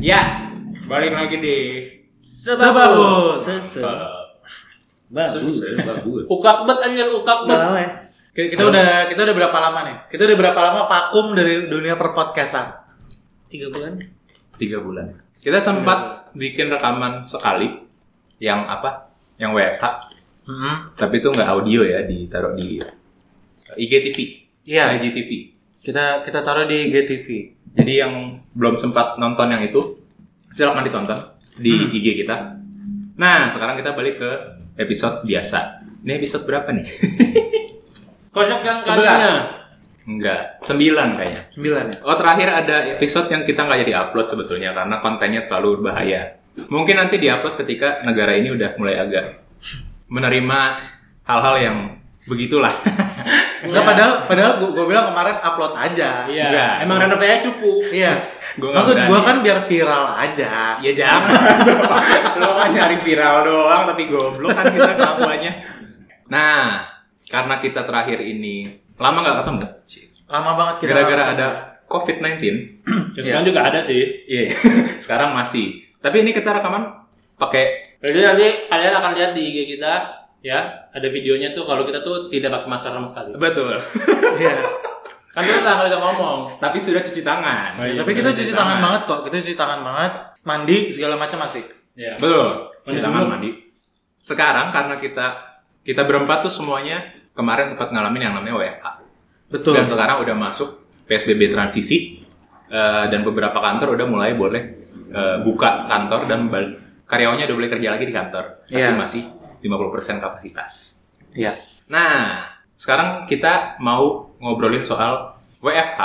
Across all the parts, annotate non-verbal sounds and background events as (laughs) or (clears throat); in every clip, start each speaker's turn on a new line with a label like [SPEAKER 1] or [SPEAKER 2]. [SPEAKER 1] Ya,
[SPEAKER 2] Balik lagi di
[SPEAKER 1] sebabun.
[SPEAKER 3] bagus.
[SPEAKER 1] Ukap bet anjir ukap
[SPEAKER 4] Udah
[SPEAKER 1] bet.
[SPEAKER 4] lama ya?
[SPEAKER 5] Kita, kita udah kita udah berapa lama nih? Kita udah berapa lama vakum dari dunia perpodcastan?
[SPEAKER 4] Tiga bulan.
[SPEAKER 3] Tiga bulan. Kita sempat bikin rekaman sekali yang apa? Yang WFH,
[SPEAKER 5] Hmm.
[SPEAKER 3] tapi itu nggak audio ya, ditaruh di IGTV,
[SPEAKER 5] Iya.
[SPEAKER 3] IGTV.
[SPEAKER 5] Kita kita taruh di GTV.
[SPEAKER 3] Jadi yang belum sempat nonton yang itu, silakan ditonton di
[SPEAKER 5] Hmm.
[SPEAKER 3] IG kita. Nah, sekarang kita balik ke episode biasa. Ini episode berapa nih? (laughs)
[SPEAKER 1] Kocok yang
[SPEAKER 3] Sebelas.
[SPEAKER 1] kalinya.
[SPEAKER 3] Enggak, sembilan kayaknya.
[SPEAKER 5] 9 ya.
[SPEAKER 3] Oh terakhir ada episode yang kita nggak jadi upload sebetulnya karena kontennya terlalu berbahaya. Mungkin nanti diupload ketika negara ini udah mulai agak menerima hal-hal yang begitulah. Iya.
[SPEAKER 5] Enggak padahal padahal gua, gua bilang kemarin upload aja.
[SPEAKER 1] Iya.
[SPEAKER 3] Enggak.
[SPEAKER 1] Emang Renov ya cupu.
[SPEAKER 5] Iya.
[SPEAKER 3] Gua nggak
[SPEAKER 5] Maksud
[SPEAKER 3] berani.
[SPEAKER 5] gua kan biar viral aja.
[SPEAKER 3] ya jangan.
[SPEAKER 2] Lo kan nyari viral doang tapi goblok kan kita kelakuannya
[SPEAKER 3] Nah, karena kita terakhir ini lama nggak ketemu.
[SPEAKER 5] Lama banget kita.
[SPEAKER 3] Gara-gara ada COVID-19.
[SPEAKER 1] Ya, sekarang juga ada sih.
[SPEAKER 3] Iya, (laughs) sekarang masih. Tapi ini kita rekaman pakai
[SPEAKER 1] Jadi nanti kalian akan lihat di IG kita ya ada videonya tuh kalau kita tuh tidak pakai masker sama sekali.
[SPEAKER 3] betul.
[SPEAKER 5] Iya.
[SPEAKER 1] Kan terus nggak bisa ngomong.
[SPEAKER 3] (laughs) Tapi sudah cuci tangan.
[SPEAKER 1] Oh, iya.
[SPEAKER 5] Tapi kita cuci tangan banget kok. Kita cuci tangan banget. Mandi segala macam masih.
[SPEAKER 1] Iya.
[SPEAKER 3] Betul.
[SPEAKER 1] Mandi
[SPEAKER 3] Cuci tangan
[SPEAKER 1] dulu.
[SPEAKER 3] mandi. Sekarang karena kita kita berempat tuh semuanya kemarin sempat ngalamin yang namanya WFA.
[SPEAKER 5] Betul.
[SPEAKER 3] Dan sekarang udah masuk PSBB transisi eh, dan beberapa kantor udah mulai boleh eh, buka kantor dan bal- karyawannya udah boleh kerja lagi di kantor. Tapi
[SPEAKER 5] Iya.
[SPEAKER 3] masih 50% kapasitas.
[SPEAKER 5] Iya.
[SPEAKER 3] Nah, sekarang kita mau ngobrolin soal WFH.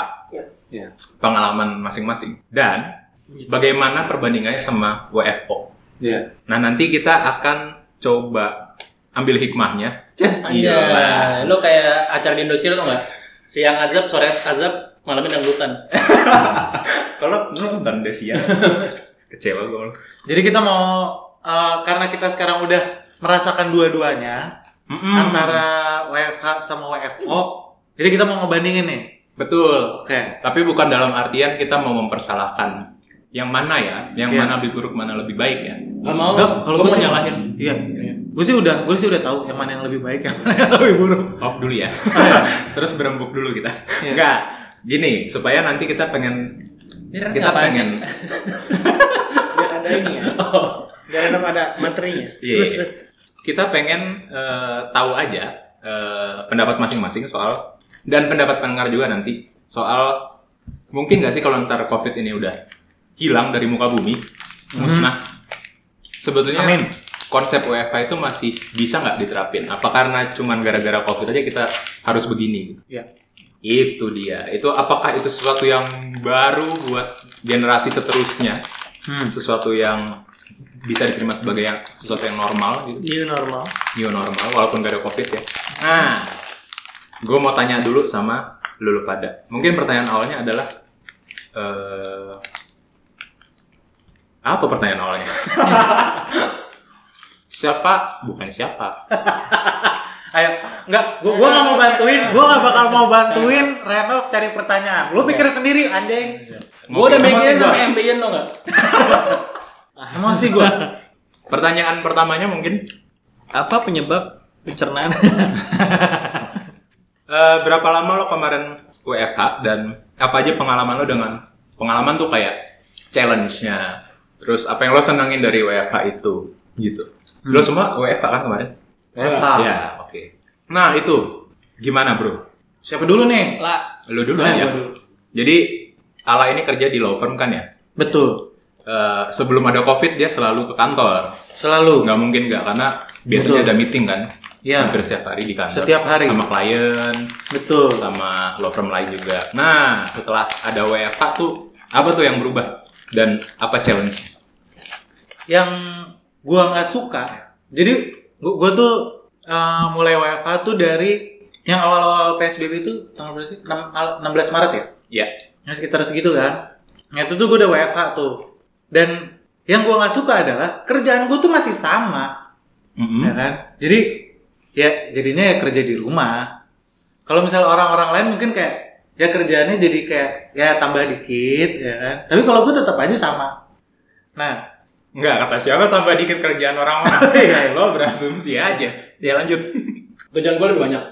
[SPEAKER 5] Iya.
[SPEAKER 3] Pengalaman masing-masing dan bagaimana perbandingannya sama WFO.
[SPEAKER 5] Iya.
[SPEAKER 3] Nah nanti kita akan coba ambil hikmahnya.
[SPEAKER 1] Iya. Lo kayak acara di Indonesia tuh nggak? Siang azab, sore azab, malamnya dangdutan.
[SPEAKER 3] Kalau nonton
[SPEAKER 5] (laughs)
[SPEAKER 3] Desia, kecewa gue.
[SPEAKER 5] Jadi kita mau eh, karena kita sekarang udah merasakan dua-duanya
[SPEAKER 3] Hmm.
[SPEAKER 5] antara WFH sama WFO. Jadi kita mau ngebandingin nih.
[SPEAKER 3] betul.
[SPEAKER 5] Oke.
[SPEAKER 3] Tapi bukan dalam artian kita mau mempersalahkan yang mana ya, yang
[SPEAKER 5] Iya.
[SPEAKER 3] mana lebih buruk, mana lebih baik ya.
[SPEAKER 1] Gak mau.
[SPEAKER 5] Enggak, kalau
[SPEAKER 1] gue Oh,
[SPEAKER 5] gue
[SPEAKER 1] mau
[SPEAKER 5] sih-
[SPEAKER 1] nyalahin.
[SPEAKER 5] Iya. Gue sih udah, gue sih udah tahu yang mana yang lebih baik, yang mana yang lebih buruk.
[SPEAKER 3] Off dulu ya. (laughs) Terus berembuk dulu kita.
[SPEAKER 5] Iya.
[SPEAKER 3] Enggak. Gini, supaya nanti kita pengen
[SPEAKER 4] Biar
[SPEAKER 3] kita
[SPEAKER 1] apaan sih?
[SPEAKER 3] pengen
[SPEAKER 4] biar ada ini
[SPEAKER 1] (laughs)
[SPEAKER 4] ya.
[SPEAKER 1] Oh.
[SPEAKER 4] Biar ada pada materinya.
[SPEAKER 3] Iya.
[SPEAKER 4] Terus terus.
[SPEAKER 3] kita pengen eh, tahu aja eh, pendapat masing-masing soal dan pendapat pendengar juga nanti soal mungkin nggak sih kalau ntar covid ini udah hilang dari muka bumi musnah sebetulnya
[SPEAKER 5] Amin.
[SPEAKER 3] konsep WFH itu masih bisa nggak diterapin apa karena cuman gara-gara covid aja kita harus begini
[SPEAKER 5] Iya.
[SPEAKER 3] itu dia itu apakah itu sesuatu yang baru buat generasi seterusnya
[SPEAKER 5] Hmm.
[SPEAKER 3] sesuatu yang bisa diterima sebagai yang sesuatu yang normal gitu
[SPEAKER 5] New normal.
[SPEAKER 3] new normal walaupun gak ada covid ya nah gue mau tanya dulu sama lulu pada mungkin pertanyaan awalnya adalah eh apa pertanyaan awalnya (laughs) siapa bukan siapa
[SPEAKER 5] Ayo, nggak, gua, gua nggak mau bantuin, gua nggak bakal mau bantuin Renov cari pertanyaan. Lu pikir sendiri, anjing.
[SPEAKER 1] Gue udah
[SPEAKER 3] Mungkin-
[SPEAKER 1] mikirin
[SPEAKER 5] gua.
[SPEAKER 1] sama ambient lo nggak?
[SPEAKER 5] Emosi gua.
[SPEAKER 3] pertanyaan pertamanya mungkin
[SPEAKER 4] Apa penyebab pencernaan?
[SPEAKER 3] eh, berapa lama lo kemarin WFH dan apa aja pengalaman lo dengan pengalaman tuh kayak challenge-nya terus apa yang lo senengin dari WFH itu gitu lo semua WFH kan kemarin
[SPEAKER 5] WFH.
[SPEAKER 3] Ya, oke. Nah, itu gimana, Bro?
[SPEAKER 5] Siapa dulu nih?
[SPEAKER 4] lah.
[SPEAKER 3] Lu dulu
[SPEAKER 5] Nah,
[SPEAKER 3] aja.
[SPEAKER 5] gua dulu.
[SPEAKER 3] Jadi, Ala ini kerja di law firm kan ya?
[SPEAKER 5] Betul.
[SPEAKER 3] Eh, sebelum ada Covid dia selalu ke kantor.
[SPEAKER 5] Selalu.
[SPEAKER 3] Nggak mungkin nggak karena
[SPEAKER 5] Betul.
[SPEAKER 3] biasanya ada meeting kan.
[SPEAKER 5] Iya.
[SPEAKER 3] Hampir setiap hari di kantor.
[SPEAKER 5] Setiap hari.
[SPEAKER 3] Sama klien,
[SPEAKER 5] Betul.
[SPEAKER 3] sama law firm lain juga. Nah, setelah ada WFH tuh apa tuh yang berubah dan apa challenge?
[SPEAKER 5] yang gua nggak suka. Jadi gua, gua tuh uh, mulai WFH tuh dari yang awal-awal PSBB itu tanggal berapa sih? 6, 16 Maret ya?
[SPEAKER 3] Ya,
[SPEAKER 5] Ya sekitar segitu kan. Nah itu tuh gua udah WFH tuh. Dan yang gua nggak suka adalah kerjaan gua tuh masih sama,
[SPEAKER 3] Mm-mm.
[SPEAKER 5] ya kan? Jadi ya jadinya ya kerja di rumah. Kalau misalnya orang-orang lain mungkin kayak ya kerjaannya jadi kayak ya tambah dikit ya kan. Tapi kalau gua tetap aja sama. Nah,
[SPEAKER 2] Enggak, kata siapa tambah dikit kerjaan
[SPEAKER 3] (laughs)
[SPEAKER 5] (laughs)
[SPEAKER 2] orang-orang. ya, lo berasumsi aja. Ya lanjut.
[SPEAKER 1] (laughs) Kerjaan gue lebih banyak.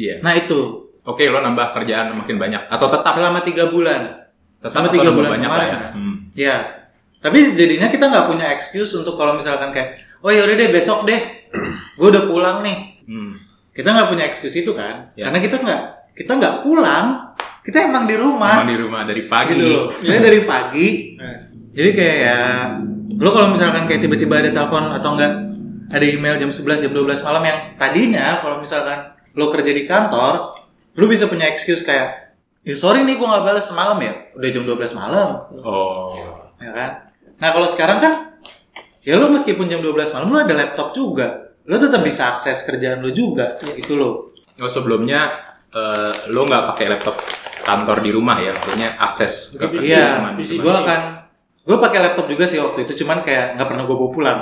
[SPEAKER 3] Iya.
[SPEAKER 5] nah itu
[SPEAKER 3] Oke, lo nambah kerjaan makin banyak atau tetap
[SPEAKER 5] selama tiga bulan.
[SPEAKER 3] tetap
[SPEAKER 5] selama
[SPEAKER 3] atau
[SPEAKER 5] tiga
[SPEAKER 3] nambah
[SPEAKER 5] bulan
[SPEAKER 3] banyak
[SPEAKER 5] kemarin,
[SPEAKER 3] lah ya.
[SPEAKER 5] kan?
[SPEAKER 3] Hmm.
[SPEAKER 5] Ya. Tapi jadinya kita nggak punya excuse untuk kalau misalkan kayak, oh yaudah deh besok deh, (clears throat) gue udah pulang nih.
[SPEAKER 3] Hmm.
[SPEAKER 5] Kita nggak punya excuse itu kan?
[SPEAKER 3] Ya.
[SPEAKER 5] Karena kita nggak kita nggak pulang, kita emang di rumah.
[SPEAKER 3] Emang di rumah dari pagi.
[SPEAKER 5] gitu Nah. loh. Jadi dari pagi. Jadi kayak ya lu kalau misalkan kayak tiba-tiba ada telepon atau enggak ada email jam 11 jam 12 malam yang tadinya kalau misalkan lu kerja di kantor, lu bisa punya excuse kayak "Ya sorry nih gua nggak balas semalam ya. Udah jam 12 malam."
[SPEAKER 3] Oh.
[SPEAKER 5] Ya kan? Nah, kalau sekarang kan ya lu meskipun jam 12 malam lu ada laptop juga. Lu tetap bisa akses kerjaan lu juga. Itu lo.
[SPEAKER 3] Oh, sebelumnya eh, lo nggak pakai laptop kantor di rumah ya, maksudnya akses ke
[SPEAKER 1] Lebih-
[SPEAKER 3] kerja
[SPEAKER 5] Iya,
[SPEAKER 3] cuman- cuman-
[SPEAKER 5] gua akan gua pakai laptop juga sih waktu itu, cuman kayak nggak pernah gua bawa pulang.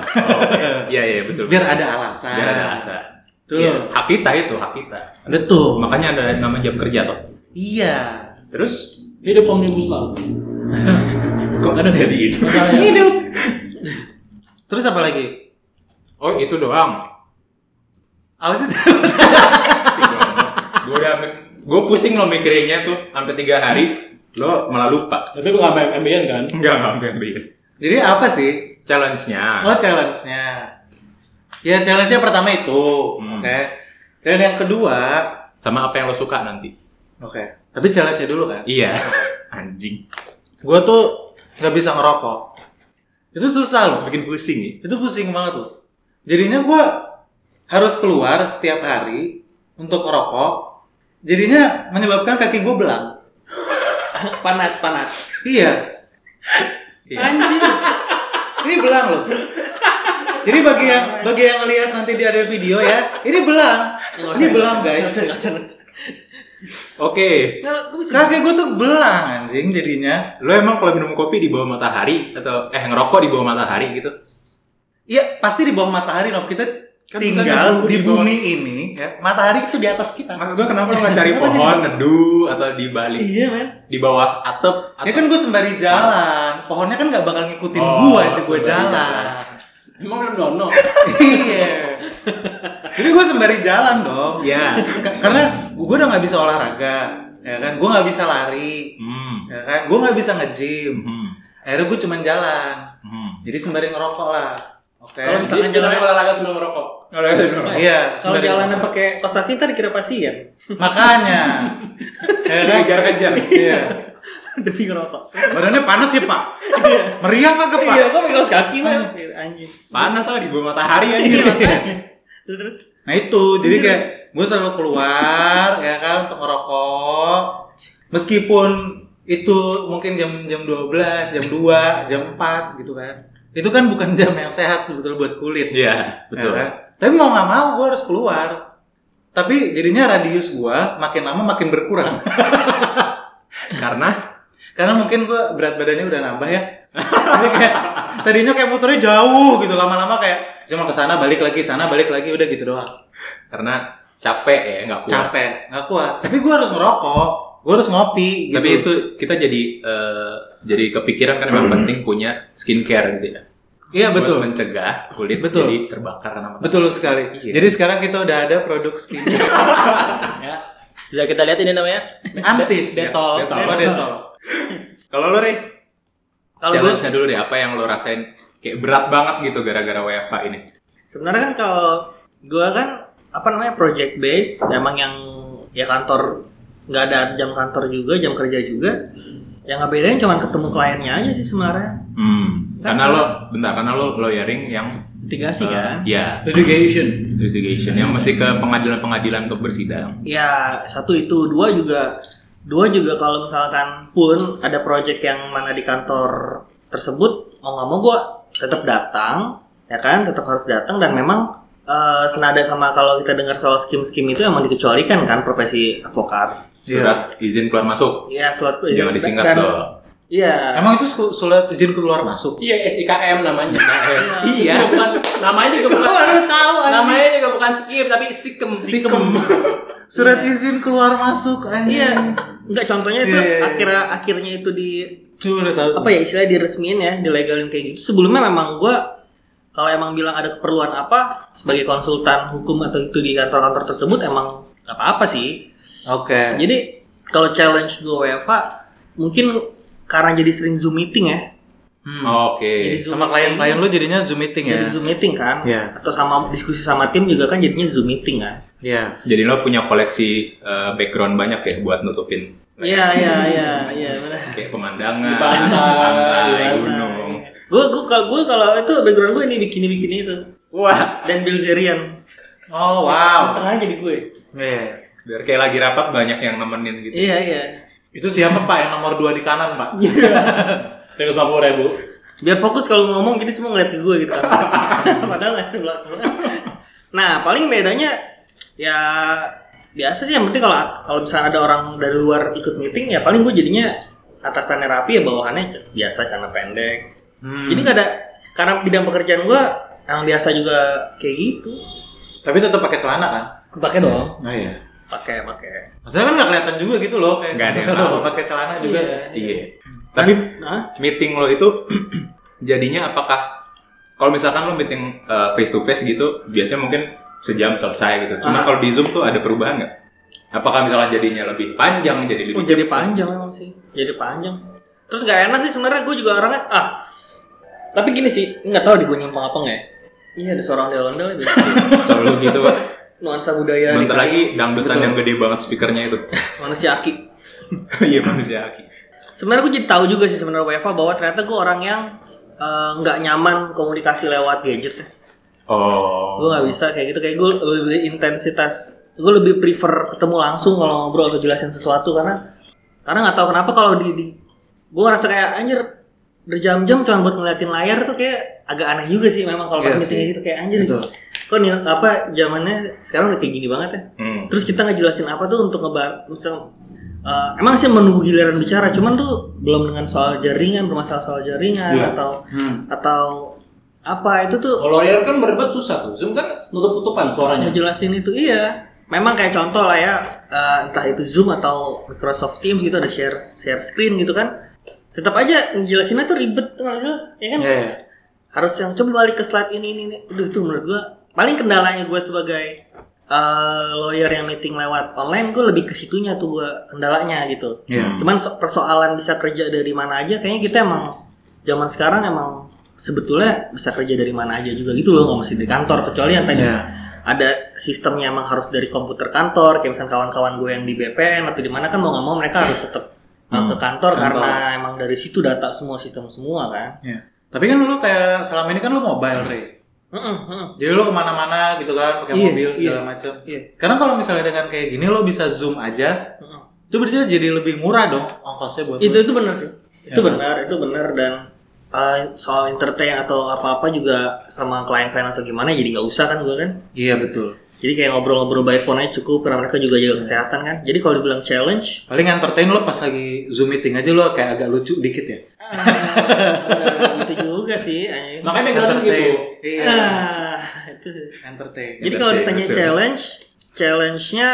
[SPEAKER 3] Iya, iya betul.
[SPEAKER 5] biar ada alasan
[SPEAKER 3] biar ada alasan.
[SPEAKER 5] Betul.
[SPEAKER 3] Iya, Hak kita itu, hak kita.
[SPEAKER 5] betul
[SPEAKER 3] Makanya ada nama jam kerja toh.
[SPEAKER 5] iya
[SPEAKER 3] Terus
[SPEAKER 1] Hidup omnibus law.
[SPEAKER 3] kok ada jadi itu?
[SPEAKER 5] hidup terus apa lagi
[SPEAKER 3] Oh, itu doang.
[SPEAKER 5] apa sih (laughs)
[SPEAKER 3] gue udah gue pusing lo mikirinnya tuh sampai tiga hari lo malah lupa. (laughs)
[SPEAKER 1] Tapi gue nggak main MBN kan.
[SPEAKER 3] Enggak, enggak, enggak, enggak.
[SPEAKER 5] jadi apa sih
[SPEAKER 3] Challenge-nya.
[SPEAKER 5] oh challenge-nya ya challenge-nya pertama itu
[SPEAKER 3] Hmm.
[SPEAKER 5] oke dan yang kedua
[SPEAKER 3] Sama apa yang lo suka nanti.
[SPEAKER 5] oke tapi challenge-nya dulu kan
[SPEAKER 3] Iya. (laughs) Anjing.
[SPEAKER 5] gue tuh nggak bisa ngerokok itu susah loh
[SPEAKER 3] Bikin pusing nih.
[SPEAKER 5] itu pusing banget loh jadinya gue harus keluar setiap hari untuk ngerokok jadinya menyebabkan kaki gue belang
[SPEAKER 4] Panas, panas.
[SPEAKER 5] Iya.
[SPEAKER 1] (laughs)
[SPEAKER 4] Anjing.
[SPEAKER 5] Ini belang loh. Jadi bagi yang bagi yang lihat nanti dia ada video ya, ini belang. Ini belang guys.
[SPEAKER 3] Oke.
[SPEAKER 5] Kaki gue tuh belang anjing jadinya.
[SPEAKER 3] Lo emang kalau minum kopi di bawah matahari atau eh ngerokok di bawah matahari gitu?
[SPEAKER 5] Iya pasti di bawah matahari Nov kita
[SPEAKER 3] Kan
[SPEAKER 5] tinggal di
[SPEAKER 3] misalnya di bawah-
[SPEAKER 5] bumi ini ya. Matahari itu di atas kita.
[SPEAKER 3] Maksud gue kenapa lo nggak (laughs) cari
[SPEAKER 5] Kenapa sih?
[SPEAKER 3] pohon neduh atau di balik
[SPEAKER 4] Iya, men.
[SPEAKER 3] di bawah atap?
[SPEAKER 5] Ya
[SPEAKER 3] atap-
[SPEAKER 5] kan gue sembari jalan, pohonnya kan nggak bakal ngikutin
[SPEAKER 3] Oh,
[SPEAKER 5] gue aja gue
[SPEAKER 3] sembari
[SPEAKER 5] jalan.
[SPEAKER 1] Emang belum dono.
[SPEAKER 5] Iya. Jadi gue sembari jalan dong. Ya. Karena gue udah nggak bisa olahraga, ya kan? Gue nggak bisa lari,
[SPEAKER 3] Hmm.
[SPEAKER 5] ya kan? Gue nggak bisa nge-gym.
[SPEAKER 3] Hmm.
[SPEAKER 5] Akhirnya gue cuman jalan.
[SPEAKER 3] Hmm.
[SPEAKER 5] Jadi sembari ngerokok lah. Oke.
[SPEAKER 4] Kalau
[SPEAKER 1] Jadi
[SPEAKER 4] misalkan
[SPEAKER 1] jangan
[SPEAKER 4] jalan
[SPEAKER 1] olahraga sambil merokok.
[SPEAKER 5] Iya,
[SPEAKER 4] (laughs) kalau
[SPEAKER 5] sembari
[SPEAKER 4] jalannya pakai kosaki ntar dikira pasien. (laughs)
[SPEAKER 5] makanya. ya kan?
[SPEAKER 3] (laughs) Kejar-kejar.
[SPEAKER 5] Iya.
[SPEAKER 4] Demi ngerokok.
[SPEAKER 5] Badannya panas ya Pak. Meriang kagak Pak?
[SPEAKER 4] Iya, gua pakai kaos (laughs) kaki lah. Anjing.
[SPEAKER 3] Panas lah di bawah matahari aja.
[SPEAKER 4] Terus terus.
[SPEAKER 5] Nah itu, jadi
[SPEAKER 3] Iya.
[SPEAKER 5] kayak gue selalu keluar ya kan untuk ngerokok. Meskipun itu mungkin jam jam 12, jam 2, jam 4 gitu kan. Itu kan bukan (laughs) jam yang sehat sebetulnya buat kulit. ya
[SPEAKER 3] Iya, betul.
[SPEAKER 5] kan? Tapi mau nggak mau gue harus keluar. Tapi jadinya radius gue makin lama makin berkurang. (laughs)
[SPEAKER 3] Karena
[SPEAKER 5] Karena mungkin gue berat badannya udah nambah ya. (laughs) Jadi kayak tadinya kayak motornya jauh gitu lama-lama kayak cuma ke sana balik lagi sana balik lagi udah gitu doang.
[SPEAKER 3] karena capek ya nggak kuat.
[SPEAKER 5] capek nggak kuat tapi gue harus ngerokok gue harus ngopi gitu
[SPEAKER 3] Tapi itu kita jadi eh, jadi kepikiran kan memang penting punya skincare gitu ya.
[SPEAKER 5] iya
[SPEAKER 3] Buat
[SPEAKER 5] betul
[SPEAKER 3] mencegah kulit
[SPEAKER 5] Betul.
[SPEAKER 3] jadi terbakar karena matahari.
[SPEAKER 5] betul sekali
[SPEAKER 3] Iya.
[SPEAKER 5] jadi sekarang kita udah ada produk
[SPEAKER 3] (laughs)
[SPEAKER 5] skincare
[SPEAKER 1] Ya. Bisa kita lihat ini namanya.
[SPEAKER 5] antis
[SPEAKER 1] Detol.
[SPEAKER 3] Iya, Detol.
[SPEAKER 5] Oh,
[SPEAKER 3] (laughs)
[SPEAKER 5] detol
[SPEAKER 3] Kalau lo Rey,
[SPEAKER 1] Kalau gue
[SPEAKER 3] challenge-nya dulu deh apa yang lo rasain kayak berat banget gitu gara-gara WFH ini.
[SPEAKER 4] Sebenarnya kan kalau gua kan apa namanya project base emang yang ya kantor nggak ada jam kantor juga jam kerja juga yang ngebedain cuman ketemu kliennya aja sih sebenarnya
[SPEAKER 3] Hmm. Karena lo bentar karena lo lawyering yang
[SPEAKER 4] mitigasi
[SPEAKER 3] eh,
[SPEAKER 4] kan
[SPEAKER 3] ya
[SPEAKER 5] education
[SPEAKER 3] litigation yang mesti ke pengadilan-pengadilan untuk bersidang.
[SPEAKER 4] ya satu itu dua juga dua juga kalau misalkan pun ada project yang mana di kantor tersebut mau nggak mau gue tetap datang ya kan tetap harus datang dan memang eh, senada sama kalau kita dengar soal skim-skim itu emang dikecualikan kan profesi advokat
[SPEAKER 5] Iya.
[SPEAKER 3] Surat izin keluar masuk.
[SPEAKER 4] ya surat
[SPEAKER 3] Jangan disingkat
[SPEAKER 4] dan-
[SPEAKER 3] lo.
[SPEAKER 4] iya
[SPEAKER 5] emang itu su- surat izin keluar masuk
[SPEAKER 1] Iya SIKM namanya. (laughs)
[SPEAKER 3] Iya.
[SPEAKER 1] Itu Bukan namanya juga
[SPEAKER 5] Gua
[SPEAKER 1] bukan.
[SPEAKER 5] baru tahu anjing
[SPEAKER 1] Namanya juga bukan skip tapi sikem. Sikem.
[SPEAKER 5] surat izin keluar masuk
[SPEAKER 4] iya
[SPEAKER 5] anjing
[SPEAKER 4] nggak contohnya itu
[SPEAKER 5] Iya, iya, iya.
[SPEAKER 4] akhirnya akhirnya itu di
[SPEAKER 5] Cuma udah tahu.
[SPEAKER 4] apa ya istilahnya diresmiin ya dilegalin kayak gitu sebelumnya memang gua kalau emang bilang ada keperluan apa sebagai konsultan hukum atau itu di kantor-kantor tersebut emang nggak apa-apa sih
[SPEAKER 5] Oke.
[SPEAKER 4] jadi kalau challenge gua WFA mungkin karena jadi sering zoom meeting ya
[SPEAKER 5] Hmm.
[SPEAKER 3] Oke.
[SPEAKER 4] jadi Zoom
[SPEAKER 5] Sama klien-klien lu jadinya Zoom meeting ya?
[SPEAKER 4] jadi zoom meeting kan
[SPEAKER 5] Iya.
[SPEAKER 4] atau sama diskusi sama tim juga kan jadinya zoom meeting kan
[SPEAKER 5] Iya.
[SPEAKER 3] Jadi lo punya koleksi eh, background banyak ya buat nutupin
[SPEAKER 4] iya iya iya iya Iya, benar
[SPEAKER 3] kayak pemandangan,
[SPEAKER 1] Di pantai,
[SPEAKER 3] pantai,
[SPEAKER 1] di
[SPEAKER 3] gunung.
[SPEAKER 4] gue gue kalau gue kalau itu background gue ini bikini bikini itu
[SPEAKER 2] Wah,
[SPEAKER 4] dan Bilzerian
[SPEAKER 5] Oh wow.
[SPEAKER 4] tengah jadi gue
[SPEAKER 5] Iya.
[SPEAKER 3] Biar kayak lagi rapat banyak yang nemenin gitu.
[SPEAKER 4] iya iya
[SPEAKER 5] Itu siapa Pak yang nomor dua di kanan Pak?
[SPEAKER 1] Tiga puluh ribu.
[SPEAKER 4] biar fokus kalau ngomong jadi semua ngeliat ke gue gitu kan (laughs) padahal nggak ada belakang nah paling bedanya ya biasa sih yang penting kalau kalau misalnya ada orang dari luar ikut meeting ya paling gue jadinya atasannya rapi ya bawahannya biasa karena pendek
[SPEAKER 5] Hmm.
[SPEAKER 4] jadi nggak ada karena bidang pekerjaan gue yang biasa juga kayak gitu
[SPEAKER 5] Tapi tetap pakai celana kan?
[SPEAKER 4] pakai dong
[SPEAKER 5] Oh iya.
[SPEAKER 4] pakai pakai
[SPEAKER 5] Maksudnya kan nggak kelihatan juga gitu loh kayak
[SPEAKER 3] Nggak ada yang
[SPEAKER 5] (laughs) kalau
[SPEAKER 3] tahu.
[SPEAKER 5] pakai celana juga.
[SPEAKER 3] Iya. Tapi
[SPEAKER 4] Hah?
[SPEAKER 3] meeting lo itu (clears throat) jadinya apakah kalau misalkan lo meeting eh, face to face gitu biasanya mungkin sejam selesai gitu. Cuma
[SPEAKER 4] Ah.
[SPEAKER 3] kalau di Zoom tuh ada perubahan nggak? Apakah misalnya jadinya lebih panjang jadi
[SPEAKER 4] Oh,
[SPEAKER 3] lebih
[SPEAKER 4] jadi panjang memang sih. Jadi panjang. Terus nggak enak sih sebenarnya gue juga orangnya ah. Tapi gini sih, nggak tahu di gue nyimpang apa nggak ya. Iya ada seorang ondel ondel ya biasa.
[SPEAKER 3] selalu
[SPEAKER 4] (laughs)
[SPEAKER 3] gitu? Pak.
[SPEAKER 4] Nuansa budaya
[SPEAKER 3] Bentar
[SPEAKER 4] di-
[SPEAKER 3] lagi dangdutan yang gede banget speakernya
[SPEAKER 4] (laughs)
[SPEAKER 3] itu.
[SPEAKER 4] manusia aki.
[SPEAKER 3] Iya manusia aki.
[SPEAKER 4] Sebenarnya gue jadi tahu juga sih sebenarnya WFA bahwa ternyata gue orang yang eh, nggak nyaman komunikasi lewat gadget. ya.
[SPEAKER 3] Oh.
[SPEAKER 4] Gue nggak bisa kayak gitu kayak gue lebih intensitas. Gue lebih prefer ketemu langsung kalau ngobrol atau jelasin sesuatu karena karena nggak tahu kenapa kalau di, di gue ngerasa kayak anjir berjam-jam cuma buat ngeliatin layar tuh kayak agak aneh juga sih memang kalau
[SPEAKER 5] Iya
[SPEAKER 4] pas
[SPEAKER 5] sih.
[SPEAKER 4] meetingnya gitu kayak anjir
[SPEAKER 5] Betul.
[SPEAKER 4] kok nih apa zamannya sekarang udah kayak gini banget ya
[SPEAKER 3] Hmm.
[SPEAKER 4] terus kita ngejelasin apa tuh untuk ngebahas misal eh, emang sih menunggu giliran bicara cuman tuh belum dengan soal jaringan bermasalah soal jaringan
[SPEAKER 1] Iya.
[SPEAKER 4] atau
[SPEAKER 5] Hmm.
[SPEAKER 4] atau apa itu tuh
[SPEAKER 1] Kalau Rian kan berdebat susah tuh. Zoom kan nutup-nutupan suaranya.
[SPEAKER 4] ngejelasin itu iya memang kayak contoh lah ya eh, entah itu Zoom atau Microsoft Teams gitu ada share share screen gitu kan tetap aja ngejelasinnya tuh ribet tuh nggak sih lo? ya kan
[SPEAKER 5] Iya. iya.
[SPEAKER 4] harus yang coba balik ke slide ini ini ini Aduh, itu menurut gua paling kendalanya gua sebagai eh, lawyer yang meeting lewat online gua lebih ke situnya tuh gua kendalanya gitu
[SPEAKER 5] Iya.
[SPEAKER 4] cuman so- persoalan bisa kerja dari mana aja kayaknya kita emang zaman sekarang emang sebetulnya bisa kerja dari mana aja juga gitu loh nggak mesti di kantor kecuali yang tadi
[SPEAKER 5] Iya.
[SPEAKER 4] ada sistemnya emang harus dari komputer kantor kayak misalnya kawan-kawan gue yang di BPN atau di mana kan mau nggak mau mereka harus tetap uh, ke
[SPEAKER 5] Hmm.
[SPEAKER 4] kantor, karena emang dari situ data semua sistem semua kan
[SPEAKER 5] Iya. Tapi kan lu kayak selama ini kan lu mobile, Ray.
[SPEAKER 4] Heeh, heeh.
[SPEAKER 5] Jadi lu kemana-mana gitu kan pakai
[SPEAKER 4] Iya,
[SPEAKER 5] mobil segala
[SPEAKER 4] iya.
[SPEAKER 5] macam.
[SPEAKER 4] Iya.
[SPEAKER 5] Sekarang kalau misalnya dengan kayak gini lo bisa zoom aja,
[SPEAKER 4] heeh.
[SPEAKER 5] itu berarti jadi lebih murah dong ongkosnya buat
[SPEAKER 4] itu
[SPEAKER 5] lu.
[SPEAKER 4] itu benar sih itu benar itu benar dan uh, soal entertain atau apa-apa juga sama klien-klien atau gimana jadi nggak usah kan gue kan
[SPEAKER 5] Iya betul.
[SPEAKER 4] jadi kayak ngobrol-ngobrol by phone aja cukup karena mereka juga jaga kesehatan kan jadi kalau dibilang challenge
[SPEAKER 5] Paling entertain lo pas lagi zoom meeting aja lo kayak agak lucu dikit ya.
[SPEAKER 4] ah, itu juga sih anjing.
[SPEAKER 1] Makanya pegangan gitu.
[SPEAKER 5] Iya.
[SPEAKER 4] ah, itu
[SPEAKER 5] Entertain.
[SPEAKER 4] Jadi kalau
[SPEAKER 3] Betul,
[SPEAKER 4] ditanya
[SPEAKER 3] betul.
[SPEAKER 4] challenge, challenge-nya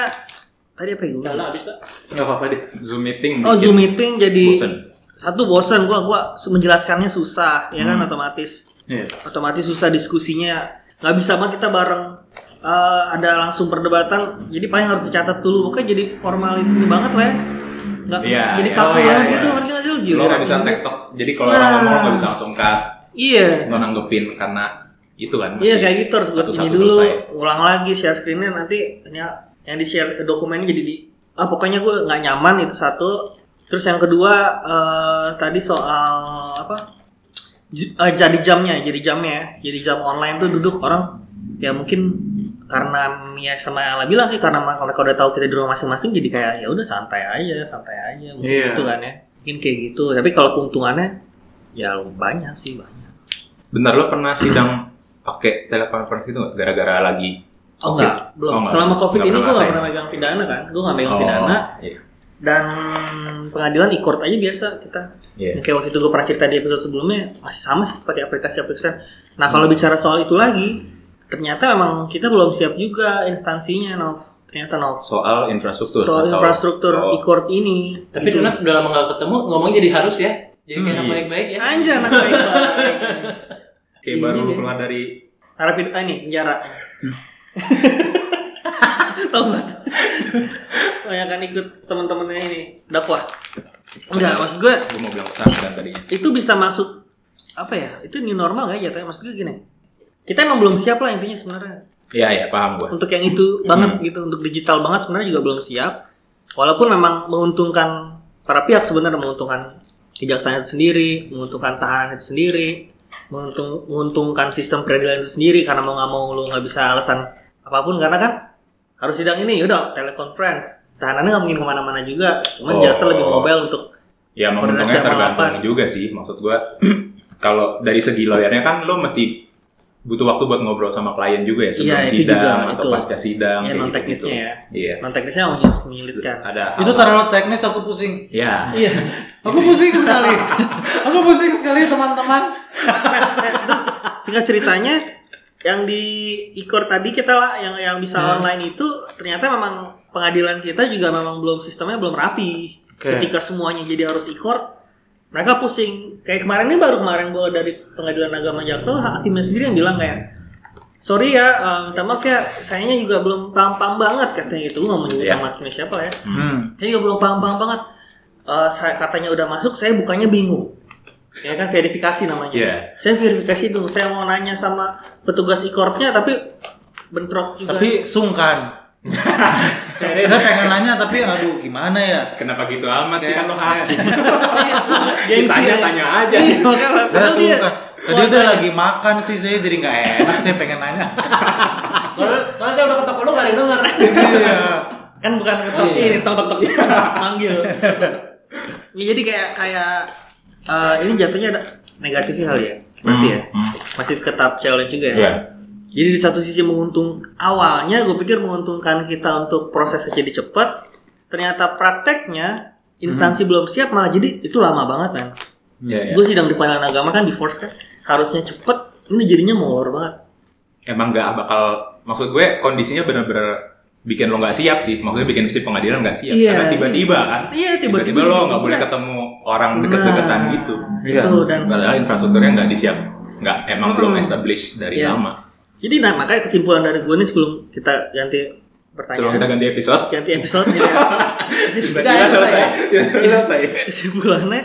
[SPEAKER 4] tadi apa ya gue?
[SPEAKER 1] Udah lah habis lah.
[SPEAKER 5] Gak apa-apa deh.
[SPEAKER 3] Zoom meeting.
[SPEAKER 4] Oh
[SPEAKER 3] bikin
[SPEAKER 4] zoom meeting jadi
[SPEAKER 3] bosen.
[SPEAKER 4] satu bosen gua gua su- menjelaskannya susah ya kan otomatis
[SPEAKER 5] Iya.
[SPEAKER 4] otomatis susah diskusinya nggak bisa banget kita bareng eh, ada langsung perdebatan jadi paling harus dicatat dulu pokoknya jadi formal ini banget lah ya nggak
[SPEAKER 3] Iya,
[SPEAKER 4] jadi
[SPEAKER 3] iya.
[SPEAKER 4] kaku
[SPEAKER 5] Oh, iya,
[SPEAKER 4] banget
[SPEAKER 5] iya.
[SPEAKER 4] gitu ngerti nggak sih lu
[SPEAKER 3] Lo
[SPEAKER 4] gila
[SPEAKER 3] nggak bisa tektok. Jadi kalau
[SPEAKER 4] Nah.
[SPEAKER 3] orang ngomong lo nggak bisa langsung cut,
[SPEAKER 4] iya
[SPEAKER 3] lo nanggepin karena itu kan.
[SPEAKER 4] Iya
[SPEAKER 3] masih
[SPEAKER 4] kayak gitu harus buat ini
[SPEAKER 3] satu-satu
[SPEAKER 4] dulu,
[SPEAKER 3] selesai.
[SPEAKER 4] ulang lagi share screennya nanti ya, yang di share dokumennya jadi di ah pokoknya gue nggak nyaman itu satu. Terus yang kedua eh, tadi soal apa? J- eh, jadi jamnya, jadi jamnya, ya. jadi jam online tuh duduk orang ya mungkin karena ya sama yang Ala bilang sih karena mereka udah tahu kita di rumah masing-masing jadi kayak ya udah santai aja, santai aja, mungkin
[SPEAKER 5] Iya.
[SPEAKER 4] gitu kan ya. Mungkin kayak gitu. Tapi kalau keuntungannya ya banyak sih banyak.
[SPEAKER 3] Bener lo pernah sidang pakai telekonferensi itu nggak? gara-gara lagi
[SPEAKER 4] Oh
[SPEAKER 3] Covid?
[SPEAKER 4] enggak, belum.
[SPEAKER 3] Oh, enggak.
[SPEAKER 4] Selama Covid
[SPEAKER 3] Enggak
[SPEAKER 4] ini gue
[SPEAKER 3] pernah
[SPEAKER 4] gak
[SPEAKER 3] ngerasain.
[SPEAKER 4] pernah megang pidana kan. Gue gak megang pidana
[SPEAKER 3] Iya.
[SPEAKER 4] dan pengadilan e-court aja biasa kita.
[SPEAKER 3] Iya.
[SPEAKER 4] Yang Kayak waktu itu gue pernah cerita di episode sebelumnya masih sama sih pakai aplikasi-aplikasi. Nah,
[SPEAKER 3] Hmm.
[SPEAKER 4] kalau bicara soal itu lagi, ternyata memang kita belum siap juga instansinya, Nov. Ternyata Nov.
[SPEAKER 3] Soal infrastruktur.
[SPEAKER 4] Soal
[SPEAKER 3] atau-
[SPEAKER 4] infrastruktur
[SPEAKER 3] Oh.
[SPEAKER 4] e-court ini.
[SPEAKER 1] Tapi
[SPEAKER 4] Gitu.
[SPEAKER 1] Donat udah lama gak ketemu, ngomongnya jadi harus ya.
[SPEAKER 5] Jadi kayak anak
[SPEAKER 3] Hmm, iya.
[SPEAKER 5] baik-baik ya.
[SPEAKER 4] Anjir anak baik baik.
[SPEAKER 3] Kayak
[SPEAKER 4] Iya,
[SPEAKER 3] baru
[SPEAKER 4] iya.
[SPEAKER 3] keluar dari
[SPEAKER 4] Narapid ah, ini (laughs) penjara. Tahu nggak? tuh? Banyak kan ikut teman-temannya ini dakwah. Enggak, maksud gue
[SPEAKER 3] gue mau bilang pesantren tadinya.
[SPEAKER 4] itu bisa masuk apa ya? Itu new normal nggak jatuhnya? Maksud gue gini. Kita emang belum siap lah intinya sebenarnya.
[SPEAKER 3] Iya iya paham gue.
[SPEAKER 4] untuk yang itu banget gitu untuk digital banget sebenarnya juga belum siap walaupun memang menguntungkan para pihak sebenarnya menguntungkan kejaksaan itu sendiri menguntungkan tahanan itu sendiri menguntung- menguntungkan sistem peradilan itu sendiri karena mau nggak mau lu nggak bisa alasan apapun karena kan harus sidang ini udah telekonferensi tahanannya nggak mungkin kemana-mana juga
[SPEAKER 3] Oh.
[SPEAKER 4] cuman jaksa lebih mobile untuk
[SPEAKER 3] Ya menguntungnya
[SPEAKER 4] Koordinasi sama
[SPEAKER 3] tergantung
[SPEAKER 4] lapas.
[SPEAKER 3] juga sih maksud gue. (clears throat) kalau dari segi lawyernya kan lo mesti butuh waktu buat ngobrol sama klien juga ya sebelum
[SPEAKER 4] Iya, itu
[SPEAKER 3] sidang
[SPEAKER 4] juga,
[SPEAKER 3] atau
[SPEAKER 4] betul.
[SPEAKER 3] pasca sidang.
[SPEAKER 4] ya
[SPEAKER 3] kayak
[SPEAKER 4] non
[SPEAKER 3] gitu-gitu.
[SPEAKER 4] teknisnya ya Iya.
[SPEAKER 3] Iya.
[SPEAKER 4] non teknisnya menyul- menyulitkan
[SPEAKER 3] Ada.
[SPEAKER 5] Itu
[SPEAKER 3] hal-
[SPEAKER 5] terlalu teknis aku pusing.
[SPEAKER 3] Ya.
[SPEAKER 5] Iya. Aku pusing sekali. Aku pusing sekali teman-teman.
[SPEAKER 4] Tinggal Eh, ceritanya yang di ikor tadi kita lah yang yang bisa online itu ternyata memang pengadilan kita juga memang belum sistemnya belum rapi.
[SPEAKER 5] Oke.
[SPEAKER 4] Ketika semuanya jadi harus ikor, mereka pusing. Kayak kemarin ini baru kemarin gua dari pengadilan agama Jaksel hakimnya sendiri yang bilang kayak Sorry ya, eh, minta maaf ya, sayanya juga belum paham-paham banget katanya gitu. Gue nggak mau nyebut
[SPEAKER 3] Iya.
[SPEAKER 4] nama hakimnya siapa ya.
[SPEAKER 5] Hmm.
[SPEAKER 4] Saya juga belum paham-paham banget. Eh, saya, katanya udah masuk, saya bukannya bingung. Ya kan verifikasi namanya.
[SPEAKER 3] Iya.
[SPEAKER 4] Saya verifikasi dulu. Saya mau nanya sama petugas ikortnya tapi bentrok juga.
[SPEAKER 5] Tapi sungkan. Saya pengen nanya tapi aduh gimana ya?
[SPEAKER 3] Kenapa gitu amat sih
[SPEAKER 5] Kayak-
[SPEAKER 3] kan lo hakim?
[SPEAKER 4] Gengsi
[SPEAKER 3] Tanya
[SPEAKER 1] ya.
[SPEAKER 4] aja.
[SPEAKER 3] tanya aja.
[SPEAKER 4] Iya, makanya
[SPEAKER 5] (laughs) Saya
[SPEAKER 4] padahal dia-
[SPEAKER 5] sungkan. Tadi udah lagi makan sih saya jadi nggak enak. Saya pengen nanya.
[SPEAKER 1] Soalnya, soalnya saya udah ketok lu gak ada yang denger.
[SPEAKER 5] Iya.
[SPEAKER 4] kan bukan ketok
[SPEAKER 1] Oh, iya.
[SPEAKER 4] ini tok tok
[SPEAKER 5] (laughs)
[SPEAKER 4] tok manggil. Ya, jadi kayak kayak eh, ini jatuhnya ada negatifnya kali ya. Berarti ya. Masih tetap challenge juga ya.
[SPEAKER 3] Hmm, Iya.
[SPEAKER 4] Jadi di satu sisi menguntung awalnya gue pikir menguntungkan kita untuk prosesnya jadi cepat, ternyata prakteknya instansi belum siap malah jadi itu lama banget kan.
[SPEAKER 3] Iya, Hmm. iya.
[SPEAKER 4] Gue sidang di pengadilan agama kan di force kan harusnya cepet, ini jadinya molor banget.
[SPEAKER 3] emang nggak bakal maksud gue kondisinya bener-bener bikin lo nggak siap sih maksudnya bikin si pengadilan nggak siap
[SPEAKER 4] Iya.
[SPEAKER 3] karena tiba-tiba kan
[SPEAKER 4] Iya, tiba-tiba
[SPEAKER 3] tiba-tiba lo nggak
[SPEAKER 4] tiba-tiba.
[SPEAKER 3] boleh ketemu orang deket-deketan
[SPEAKER 4] Nah,
[SPEAKER 3] gitu
[SPEAKER 5] Iya.
[SPEAKER 4] Itu dan
[SPEAKER 3] padahal infrastrukturnya nggak disiap nggak emang
[SPEAKER 4] Hmm.
[SPEAKER 3] belum establish dari
[SPEAKER 4] Yes.
[SPEAKER 3] lama
[SPEAKER 4] jadi nah makanya kesimpulan dari gue nih sebelum kita ganti
[SPEAKER 3] sebelum kita
[SPEAKER 4] pertanyaan,
[SPEAKER 3] ganti episode
[SPEAKER 4] ganti episode ya. Nah, jadi
[SPEAKER 1] Udah,
[SPEAKER 3] (laughs) tiba-tiba
[SPEAKER 1] ya,
[SPEAKER 3] selesai tiba-tiba selesai
[SPEAKER 4] (laughs) kesimpulannya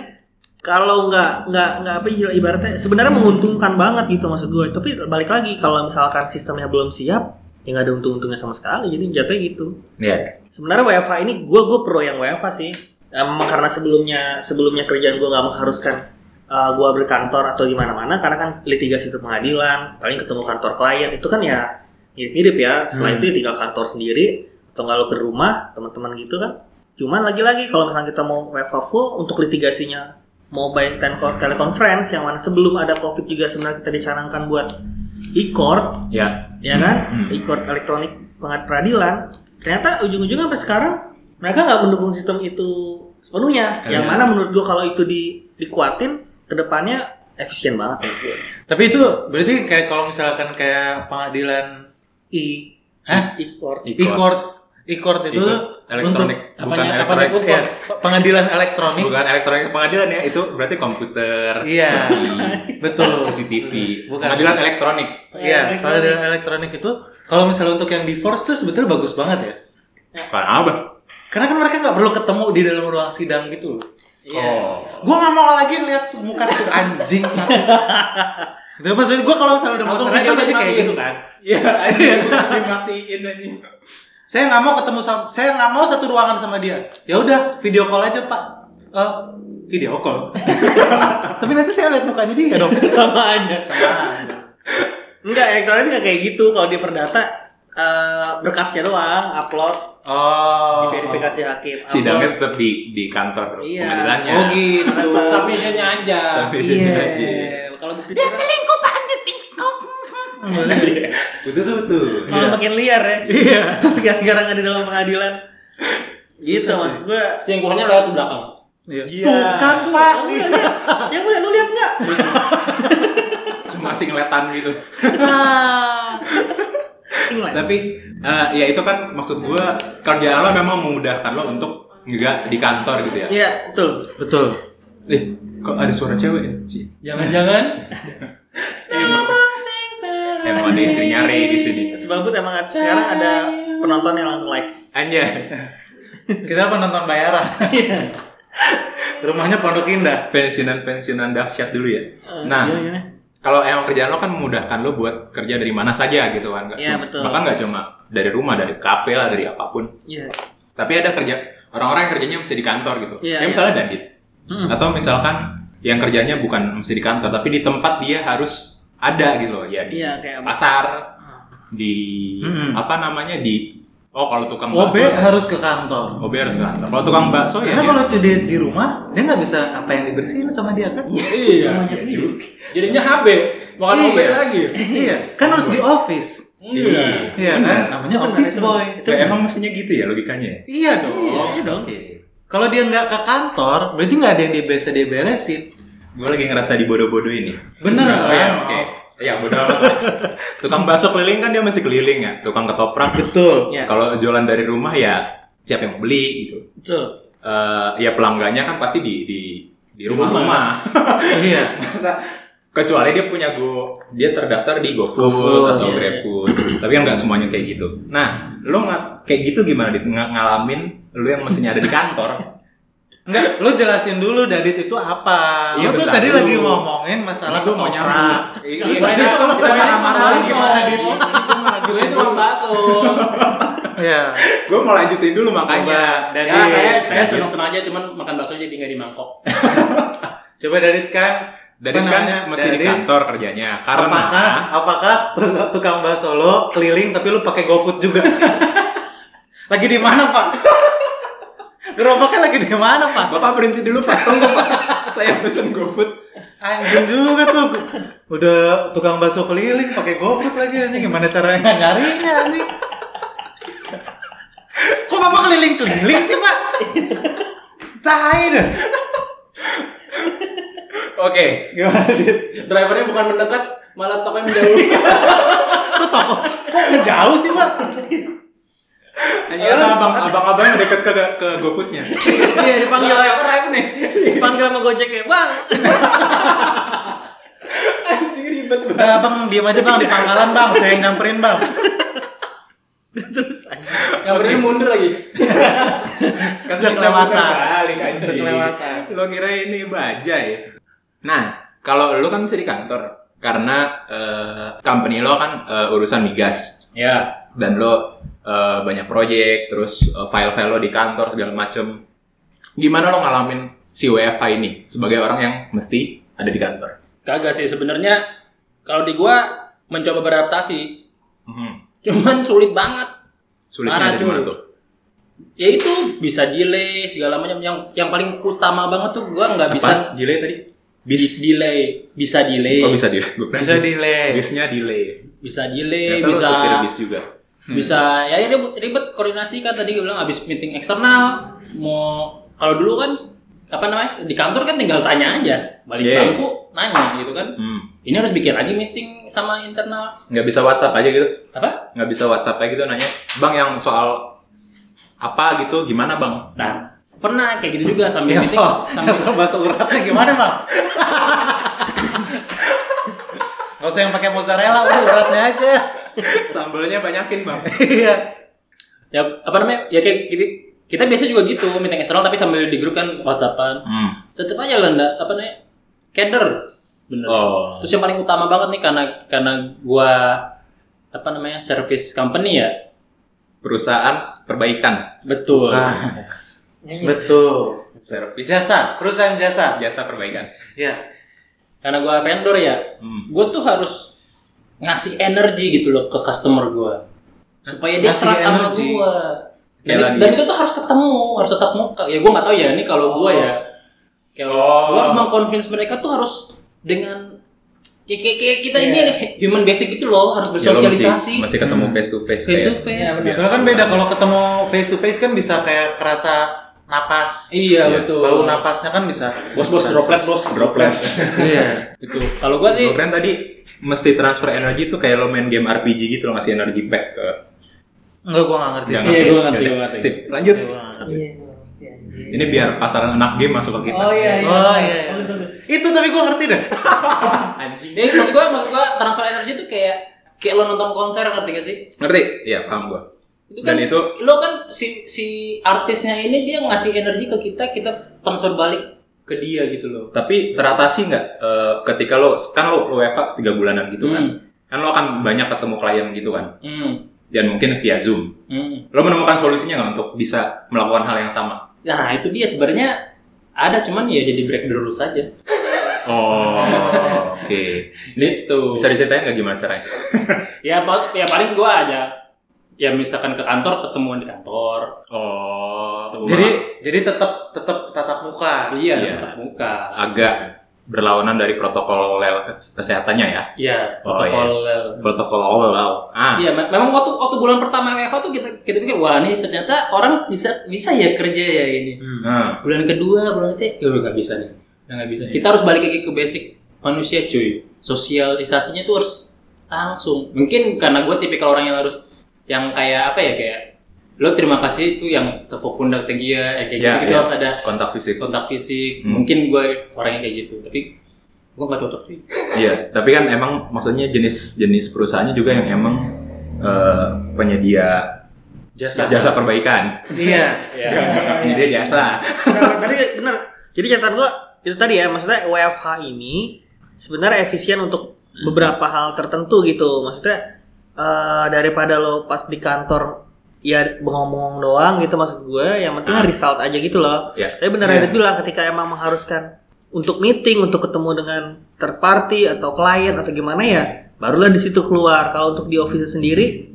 [SPEAKER 4] kalau nggak nggak nggak apa ya, ibaratnya sebenarnya menguntungkan banget gitu maksud gue tapi balik lagi kalau misalkan sistemnya belum siap ya nggak ada untung-untungnya sama sekali jadi jatuhnya gitu
[SPEAKER 3] (laughs) Iya.
[SPEAKER 4] sebenarnya WFA ini gue gue pro yang WFA sih Emang karena sebelumnya sebelumnya kerjaan gue nggak mengharuskan uh, gue berkantor atau gimana mana karena kan litigasi itu pengadilan paling ketemu kantor klien itu kan ya mirip-mirip ya selain itu ya tinggal kantor sendiri atau nggak lo ke rumah teman-teman gitu kan cuman lagi-lagi kalau misalnya kita mau WFA full untuk litigasinya mau baik telco- telekonferensi yang mana sebelum ada covid juga sebenarnya kita dicanangkan buat e-court
[SPEAKER 3] ya
[SPEAKER 4] ya kan
[SPEAKER 3] Hmm.
[SPEAKER 4] e-court elektronik pengad peradilan ternyata ujung-ujungnya sampai sekarang mereka nggak mendukung sistem itu sepenuhnya
[SPEAKER 3] Iya.
[SPEAKER 4] yang mana menurut gua kalau itu di dikuatin kedepannya efisien banget menurut gua.
[SPEAKER 5] Tapi itu berarti kayak kalau misalkan kayak pengadilan I, hah?
[SPEAKER 4] e-court
[SPEAKER 5] E-court, e-court itu
[SPEAKER 3] E-court. Elektronik.
[SPEAKER 5] untuk-
[SPEAKER 3] Bukan
[SPEAKER 5] apanya-
[SPEAKER 3] elektronik.
[SPEAKER 5] apanya
[SPEAKER 3] Iya.
[SPEAKER 5] food court? pengadilan elektronik.
[SPEAKER 3] bukan elektronik pengadilan ya itu berarti komputer
[SPEAKER 5] Iya.
[SPEAKER 3] kursi,
[SPEAKER 5] Betul.
[SPEAKER 3] CCTV
[SPEAKER 5] Bukan.
[SPEAKER 3] pengadilan elektronik
[SPEAKER 5] Iya, pengadilan elektronik itu kalau misalnya untuk yang divorce tuh sebetulnya bagus banget ya.
[SPEAKER 3] Apaan apa
[SPEAKER 5] Karena kan mereka nggak perlu ketemu di dalam ruang sidang gitu loh.
[SPEAKER 4] Iya.
[SPEAKER 3] oh
[SPEAKER 5] Gue nggak mau lagi lihat tuh muka tuh anjing satu. Itu maksudnya gue kalau misalnya udah mau
[SPEAKER 1] Langsung
[SPEAKER 5] cerai kan
[SPEAKER 1] video
[SPEAKER 5] pasti kayak
[SPEAKER 1] dimatiin.
[SPEAKER 5] gitu kan. (laughs)
[SPEAKER 3] iya anjing dimatiin anjing
[SPEAKER 5] saya nggak mau ketemu sama saya nggak mau satu ruangan sama dia ya udah video call aja pak Eh, video call (laughs) tapi nanti saya lihat mukanya dia dong
[SPEAKER 4] (laughs) sama aja enggak elektronik nggak kayak gitu kalau di perdata eh, berkasnya doang upload
[SPEAKER 5] oh
[SPEAKER 4] verifikasi hakim upload.
[SPEAKER 3] sidangnya tetap di di kantor
[SPEAKER 4] Iya.
[SPEAKER 3] pengadilannya
[SPEAKER 5] oh gitu
[SPEAKER 1] Submissionnya aja.
[SPEAKER 3] Sampai sini
[SPEAKER 4] iya
[SPEAKER 3] aja.
[SPEAKER 4] kalau bukti
[SPEAKER 5] selingkuh pak anjir
[SPEAKER 3] Putus betul.
[SPEAKER 4] malah makin liar ya iya (laughs) gara-gara nggak di dalam pengadilan gitu maksud gua
[SPEAKER 1] Selingkuhannya lewat di belakang.
[SPEAKER 5] tuh kan pak
[SPEAKER 4] yang lu lihat, lu lihat nggak
[SPEAKER 3] Cuma asing letan gitu.
[SPEAKER 4] England.
[SPEAKER 3] Tapi eh, ya itu kan maksud gua kerjaan lo memang memudahkan lo untuk nggak di kantor gitu ya.
[SPEAKER 4] Iya, betul.
[SPEAKER 5] betul
[SPEAKER 3] Eh, kok ada suara cewek ya? Ci. Eh,
[SPEAKER 1] Jangan-jangan
[SPEAKER 3] Emang ada istrinya Ray di sini.
[SPEAKER 4] Sebab emang sekarang ada penonton yang langsung live.
[SPEAKER 3] Anjay.
[SPEAKER 5] Kita penonton bayaran. Rumahnya Pondok Indah.
[SPEAKER 3] Pensiunan-pensiunan dahsyat dulu ya. Nah,
[SPEAKER 4] Iya, iya.
[SPEAKER 3] kalau emang kerjaan lo kan memudahkan lo buat kerja dari mana saja gitu kan. Nggak
[SPEAKER 4] Iya,
[SPEAKER 3] cuma-
[SPEAKER 4] betul.
[SPEAKER 3] Bahkan nggak cuma dari rumah, dari kafe lah, dari apapun.
[SPEAKER 4] Iya.
[SPEAKER 3] Tapi ada kerja orang-orang yang kerjanya mesti di kantor gitu.
[SPEAKER 4] Iya,
[SPEAKER 3] ya
[SPEAKER 4] iya.
[SPEAKER 3] misalnya Danit.
[SPEAKER 4] Mm-mm.
[SPEAKER 3] Atau misalkan yang kerjanya bukan mesti di kantor, tapi di tempat dia harus ada gitu loh. Ya di
[SPEAKER 4] Iya Hmm. kayak
[SPEAKER 3] pasar, di
[SPEAKER 5] Mm-mm.
[SPEAKER 3] apa namanya di Oh, kalau tukang
[SPEAKER 5] OB
[SPEAKER 3] bakso.
[SPEAKER 5] harus ke kantor.
[SPEAKER 3] OB harus ke kantor. Kalau tukang bakso ya
[SPEAKER 5] Karena
[SPEAKER 3] dia-
[SPEAKER 5] kalau dia di rumah, dia nggak bisa apa yang dibersihin sama dia kan?
[SPEAKER 1] iya. Jadinya HB, bukan
[SPEAKER 5] Iya.
[SPEAKER 1] OB lagi.
[SPEAKER 5] iya, kan harus di office.
[SPEAKER 1] Iya.
[SPEAKER 5] Iya kan? Namanya office boy.
[SPEAKER 3] Nah, emang mestinya gitu ya logikanya ya?
[SPEAKER 5] Iya dong.
[SPEAKER 4] Iya dong.
[SPEAKER 5] Kalau dia nggak ke kantor, berarti nggak ada yang dia biasa dia beresin.
[SPEAKER 3] Gue lagi ngerasa dibodoh-bodohin nih.
[SPEAKER 5] Bener
[SPEAKER 3] Oh,
[SPEAKER 5] kan?
[SPEAKER 3] ya, oke. Ya, bodoh amat (laughs) lah. Tukang bakso keliling kan dia masih keliling ya. Tukang ketoprak.
[SPEAKER 5] Betul.
[SPEAKER 4] Iya.
[SPEAKER 3] Kalau jualan dari rumah ya siapa yang mau beli gitu.
[SPEAKER 4] Betul.
[SPEAKER 3] Eh, ya pelanggannya kan pasti di di di rumah-rumah.
[SPEAKER 5] iya.
[SPEAKER 3] Masa- (coughs) Kecuali dia punya go, dia terdaftar di GoFood
[SPEAKER 5] GoFood,
[SPEAKER 3] atau
[SPEAKER 4] iya.
[SPEAKER 3] GrabFood. Tapi kan nggak semuanya kayak gitu. Nah, lo nggak kayak gitu gimana dit Nga- ngalamin lo yang mestinya ada di (laughs) kantor?
[SPEAKER 5] Enggak, lu jelasin dulu Dadit itu apa. lu
[SPEAKER 3] Iya,
[SPEAKER 5] tuh
[SPEAKER 3] bentar
[SPEAKER 5] tadi
[SPEAKER 3] dulu.
[SPEAKER 5] lagi ngomongin masalah
[SPEAKER 3] Gua mau
[SPEAKER 5] ketoprak.
[SPEAKER 1] Iya,
[SPEAKER 5] Terus
[SPEAKER 1] gimana?
[SPEAKER 5] dia sama
[SPEAKER 1] Kita
[SPEAKER 5] kita
[SPEAKER 1] marah-marah
[SPEAKER 5] marah
[SPEAKER 1] gimana,
[SPEAKER 5] gimana,
[SPEAKER 1] Dit? Gue itu orang bakso.
[SPEAKER 5] Iya.
[SPEAKER 3] Gue mau lanjutin dulu
[SPEAKER 5] Coba
[SPEAKER 3] makanya.
[SPEAKER 5] Dadit.
[SPEAKER 1] Ya, saya saya seneng-seneng aja cuman makan bakso jadi nggak di mangkok.
[SPEAKER 5] Coba Dadit kan.
[SPEAKER 3] Dari
[SPEAKER 5] apa namanya,
[SPEAKER 3] kan mesti di
[SPEAKER 5] Dadit,
[SPEAKER 3] kantor kerjanya. Karena
[SPEAKER 5] Apakah apakah (laughs) tukang bakso lo keliling tapi lu pakai GoFood juga? (laughs) lagi di mana, Pak? Gerobaknya lagi di mana, Pak?
[SPEAKER 3] Bapak berhenti dulu Pak, tunggu Pak. Saya pesen GoFood.
[SPEAKER 5] (laughs) Anjing juga tuh. Udah tukang bakso keliling pakai GoFood lagi anjing gimana caranya nggak nyarinya anjing? Kok Bapak keliling-keliling sih, Pak? Cahai deh.
[SPEAKER 1] Oke.
[SPEAKER 5] Gimana, Dit?
[SPEAKER 1] Drivernya bukan mendekat, malah tokonya (laughs) menjauh.
[SPEAKER 5] Kok toko kok ngejauh sih, Pak?
[SPEAKER 3] Iya lah abang abang abang dekat ke ke GoFoodnya.
[SPEAKER 4] Iya dipanggil
[SPEAKER 5] Nah.
[SPEAKER 1] Panggil apa drive (laughs) nih?
[SPEAKER 4] dipanggil sama Gojek ya, Bang.
[SPEAKER 5] Iya.
[SPEAKER 3] Anjir ribet banget.
[SPEAKER 5] Udah, Eh, Bang, diam aja, Bang, di pangkalan, Bang. Saya yang nyamperin, Bang.
[SPEAKER 4] Terus anjing.
[SPEAKER 1] Yang berdiri mundur lagi.
[SPEAKER 3] Kan
[SPEAKER 5] Udah kelewatan.
[SPEAKER 3] Balik
[SPEAKER 5] Udah kelewatan.
[SPEAKER 3] Lo ngira ini bajai. Nah, kalau lo kan mesti di kantor karena eh, company lo kan eh, urusan migas
[SPEAKER 1] Ya.
[SPEAKER 3] dan lo eh, banyak proyek terus eh, file-file lo di kantor segala macem. Gimana lo ngalamin si WFH ini sebagai orang yang mesti ada di kantor?
[SPEAKER 1] Kagak sih sebenarnya kalau di gua mencoba beradaptasi,
[SPEAKER 3] Mhm.
[SPEAKER 1] cuman sulit banget. Parah,
[SPEAKER 3] Sulitnya ada di mana
[SPEAKER 1] cuy.
[SPEAKER 3] tuh?
[SPEAKER 1] Ya itu bisa delay segala macam yang yang paling utama banget tuh gua nggak bisa
[SPEAKER 3] Apa? delay tadi?
[SPEAKER 1] di- delay, bisa delay,
[SPEAKER 3] Oh bisa delay. (laughs) Gua kira
[SPEAKER 5] Bisa
[SPEAKER 3] bis-
[SPEAKER 5] delay.
[SPEAKER 3] Bisnya delay.
[SPEAKER 1] bisa delay,
[SPEAKER 3] Ternyata lu
[SPEAKER 1] Eh, bisa
[SPEAKER 3] supir bis juga.
[SPEAKER 1] (laughs) bisa ya ribet, ribet koordinasi kan tadi gue bilang abis meeting eksternal mau kalau dulu kan apa namanya di kantor kan tinggal tanya aja balik
[SPEAKER 3] Yeah.
[SPEAKER 1] bangku nanya gitu kan
[SPEAKER 3] Hmm.
[SPEAKER 1] ini harus bikin lagi meeting sama internal
[SPEAKER 3] Nggak bisa WhatsApp aja gitu.
[SPEAKER 1] apa
[SPEAKER 3] Nggak bisa WhatsApp aja gitu nanya. Bang yang soal apa gitu gimana bang?
[SPEAKER 1] nah pernah kayak gitu juga sambil
[SPEAKER 5] Ya
[SPEAKER 1] meeting
[SPEAKER 5] soal,
[SPEAKER 1] sambil-
[SPEAKER 5] ya soal bahasa uratnya gimana bang? Gak usah yang pakai mozzarella, udah uratnya aja.
[SPEAKER 3] Sambelnya banyakin bang.
[SPEAKER 5] Iya.
[SPEAKER 1] ya apa namanya ya kayak gitu kita biasa juga gitu meeting eksternal tapi sambil di grup kan whatsappan
[SPEAKER 3] Hmm.
[SPEAKER 1] tetep aja lah nda- apa namanya keder bener
[SPEAKER 3] Oh.
[SPEAKER 1] Terus yang paling utama banget nih karena karena gua apa namanya service company ya
[SPEAKER 3] Perusahaan perbaikan.
[SPEAKER 1] betul
[SPEAKER 5] Iya. Betul.
[SPEAKER 3] Service.
[SPEAKER 5] Jasa, perusahaan jasa.
[SPEAKER 3] Jasa perbaikan.
[SPEAKER 5] Iya.
[SPEAKER 1] karena gua vendor ya
[SPEAKER 3] Hmm.
[SPEAKER 1] gua tuh harus ngasih energi gitu loh ke customer gua supaya dia
[SPEAKER 5] Ngasih
[SPEAKER 1] trust sama
[SPEAKER 5] energi.
[SPEAKER 1] gua dan,
[SPEAKER 3] Kayak
[SPEAKER 1] dan
[SPEAKER 3] lagi. ya?
[SPEAKER 1] itu tuh harus ketemu harus tetap muka ya gua nggak tahu ya ini kalau gua ya kalau
[SPEAKER 3] Oh.
[SPEAKER 1] gua harus mengconvince mereka tuh harus dengan ya kayak, kayak kita ini human basic gitu loh harus
[SPEAKER 3] Iya. Ya, lo masih,
[SPEAKER 1] bersosialisasi
[SPEAKER 3] masih ketemu face to face.
[SPEAKER 1] face to
[SPEAKER 3] kayak. Iya,
[SPEAKER 1] face Iya,
[SPEAKER 5] Soalnya kan beda kalau ketemu face to face kan bisa kayak kerasa napas.
[SPEAKER 1] iya
[SPEAKER 3] Iya.
[SPEAKER 1] betul
[SPEAKER 5] Bau napasnya kan bisa.
[SPEAKER 1] bos-bos droplet bos (laughs)
[SPEAKER 3] Droplet.
[SPEAKER 5] Iya.
[SPEAKER 1] gitu kalau gua sih
[SPEAKER 3] Lo keren tadi mesti transfer energi tuh kayak lo main game RPG gitu lo ngasih energi pack ke
[SPEAKER 5] Enggak, gua gak ngerti.
[SPEAKER 3] Nggak
[SPEAKER 1] Iya,
[SPEAKER 3] ngerti.
[SPEAKER 1] gua ngerti,
[SPEAKER 3] Yaudah,
[SPEAKER 1] gua ngerti.
[SPEAKER 3] Sip, lanjut.
[SPEAKER 5] Iya, Gua nggak ngerti.
[SPEAKER 4] Iya, ngerti aja.
[SPEAKER 3] Ini biar pasaran anak game masuk ke kita.
[SPEAKER 6] Oh iya, iya.
[SPEAKER 5] Oh, iya, iya.
[SPEAKER 6] Bagus, bagus.
[SPEAKER 5] Itu tapi gue ngerti dah.
[SPEAKER 1] Jadi maksud gua, maksud gua transfer energi tuh kayak kayak lo nonton konser ngerti gak sih?
[SPEAKER 3] Ngerti? Iya, paham gua.
[SPEAKER 1] Itu kan,
[SPEAKER 3] Dan itu-
[SPEAKER 1] lo kan si si artisnya ini dia ngasih energi ke kita, kita transfer balik ke dia gitu loh.
[SPEAKER 3] Tapi teratasi nggak eh, ketika lo kan lo lo WFA 3 bulanan gitu kan. Kan lo akan banyak ketemu klien gitu kan.
[SPEAKER 1] Hmm.
[SPEAKER 3] Dan mungkin via Zoom.
[SPEAKER 1] Hmm.
[SPEAKER 3] Lo menemukan solusinya nggak untuk bisa melakukan hal yang sama?
[SPEAKER 1] Nah itu dia sebenarnya ada cuman ya jadi break dulu saja.
[SPEAKER 3] Oh, (laughs) oke.
[SPEAKER 1] Gitu.
[SPEAKER 3] Bisa diceritain nggak gimana caranya?
[SPEAKER 1] Ya, pa- ya paling gua aja. Ya misalkan ke kantor ketemuan di kantor.
[SPEAKER 3] Oh,
[SPEAKER 1] Tuh.
[SPEAKER 5] jadi jadi tetap tetap tatap muka.
[SPEAKER 1] Iya,
[SPEAKER 3] Iya.
[SPEAKER 1] tatap muka.
[SPEAKER 3] agak berlawanan dari protokol kesehatannya ya.
[SPEAKER 1] Iya,
[SPEAKER 3] Oh,
[SPEAKER 1] protokol.
[SPEAKER 3] Protokol awal. Ah,
[SPEAKER 1] Iya, me- memang waktu waktu bulan pertama WFH tuh kita kita pikir wah ini ternyata orang bisa bisa ya kerja ya ini.
[SPEAKER 3] ah.
[SPEAKER 1] Bulan kedua, bulan ketiga, ya udah nggak bisa nih, udah nggak bisa. Kita harus balik lagi ke basic manusia cuy. Sosialisasinya tuh harus langsung. Mungkin karena gue tipikal orang yang harus yang kayak apa ya kayak lo terima kasih itu yang tepuk pundak ke dia ya kayak
[SPEAKER 3] Iya,
[SPEAKER 1] gitu, gitu
[SPEAKER 3] iya.
[SPEAKER 1] harus ada
[SPEAKER 3] kontak fisik.
[SPEAKER 1] kontak fisik.
[SPEAKER 3] Hmm.
[SPEAKER 1] Mungkin gue orangnya kayak gitu, tapi gue nggak cocok (laughs) cuy.
[SPEAKER 3] Iya, tapi kan emang maksudnya jenis-jenis perusahaannya juga yang emang eh, penyedia jasa, perbaikan.
[SPEAKER 5] Iya.
[SPEAKER 1] Iya.
[SPEAKER 3] penyedia jasa.
[SPEAKER 4] Nah, tadi bener. Jadi catatan gua itu tadi ya, maksudnya WFH ini sebenarnya efisien untuk beberapa hal tertentu gitu. Maksudnya eh, daripada lo pas di kantor ya bengong-bengong doang gitu maksud gue, yang penting result aja gitu loh.
[SPEAKER 3] Hmm. Ya.
[SPEAKER 4] Tapi bener ada bilang ketika emang mengharuskan untuk meeting, untuk ketemu dengan third party atau klien atau gimana ya, barulah di situ keluar. Kalau untuk di office sendiri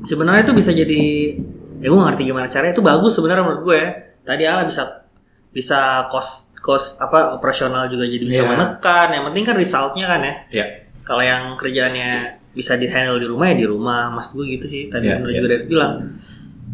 [SPEAKER 4] sebenarnya itu bisa jadi ya gue ngerti gimana caranya itu bagus sebenarnya menurut gue tadi ala bisa bisa cost cost apa operasional juga jadi bisa
[SPEAKER 5] Iya.
[SPEAKER 4] menekan yang penting kan resultnya kan ya
[SPEAKER 3] Iya.
[SPEAKER 4] kalau yang kerjaannya bisa di handle di rumah ya di rumah mas gue gitu sih tadi
[SPEAKER 3] Iya,
[SPEAKER 4] bener
[SPEAKER 3] iya.
[SPEAKER 4] juga dari bilang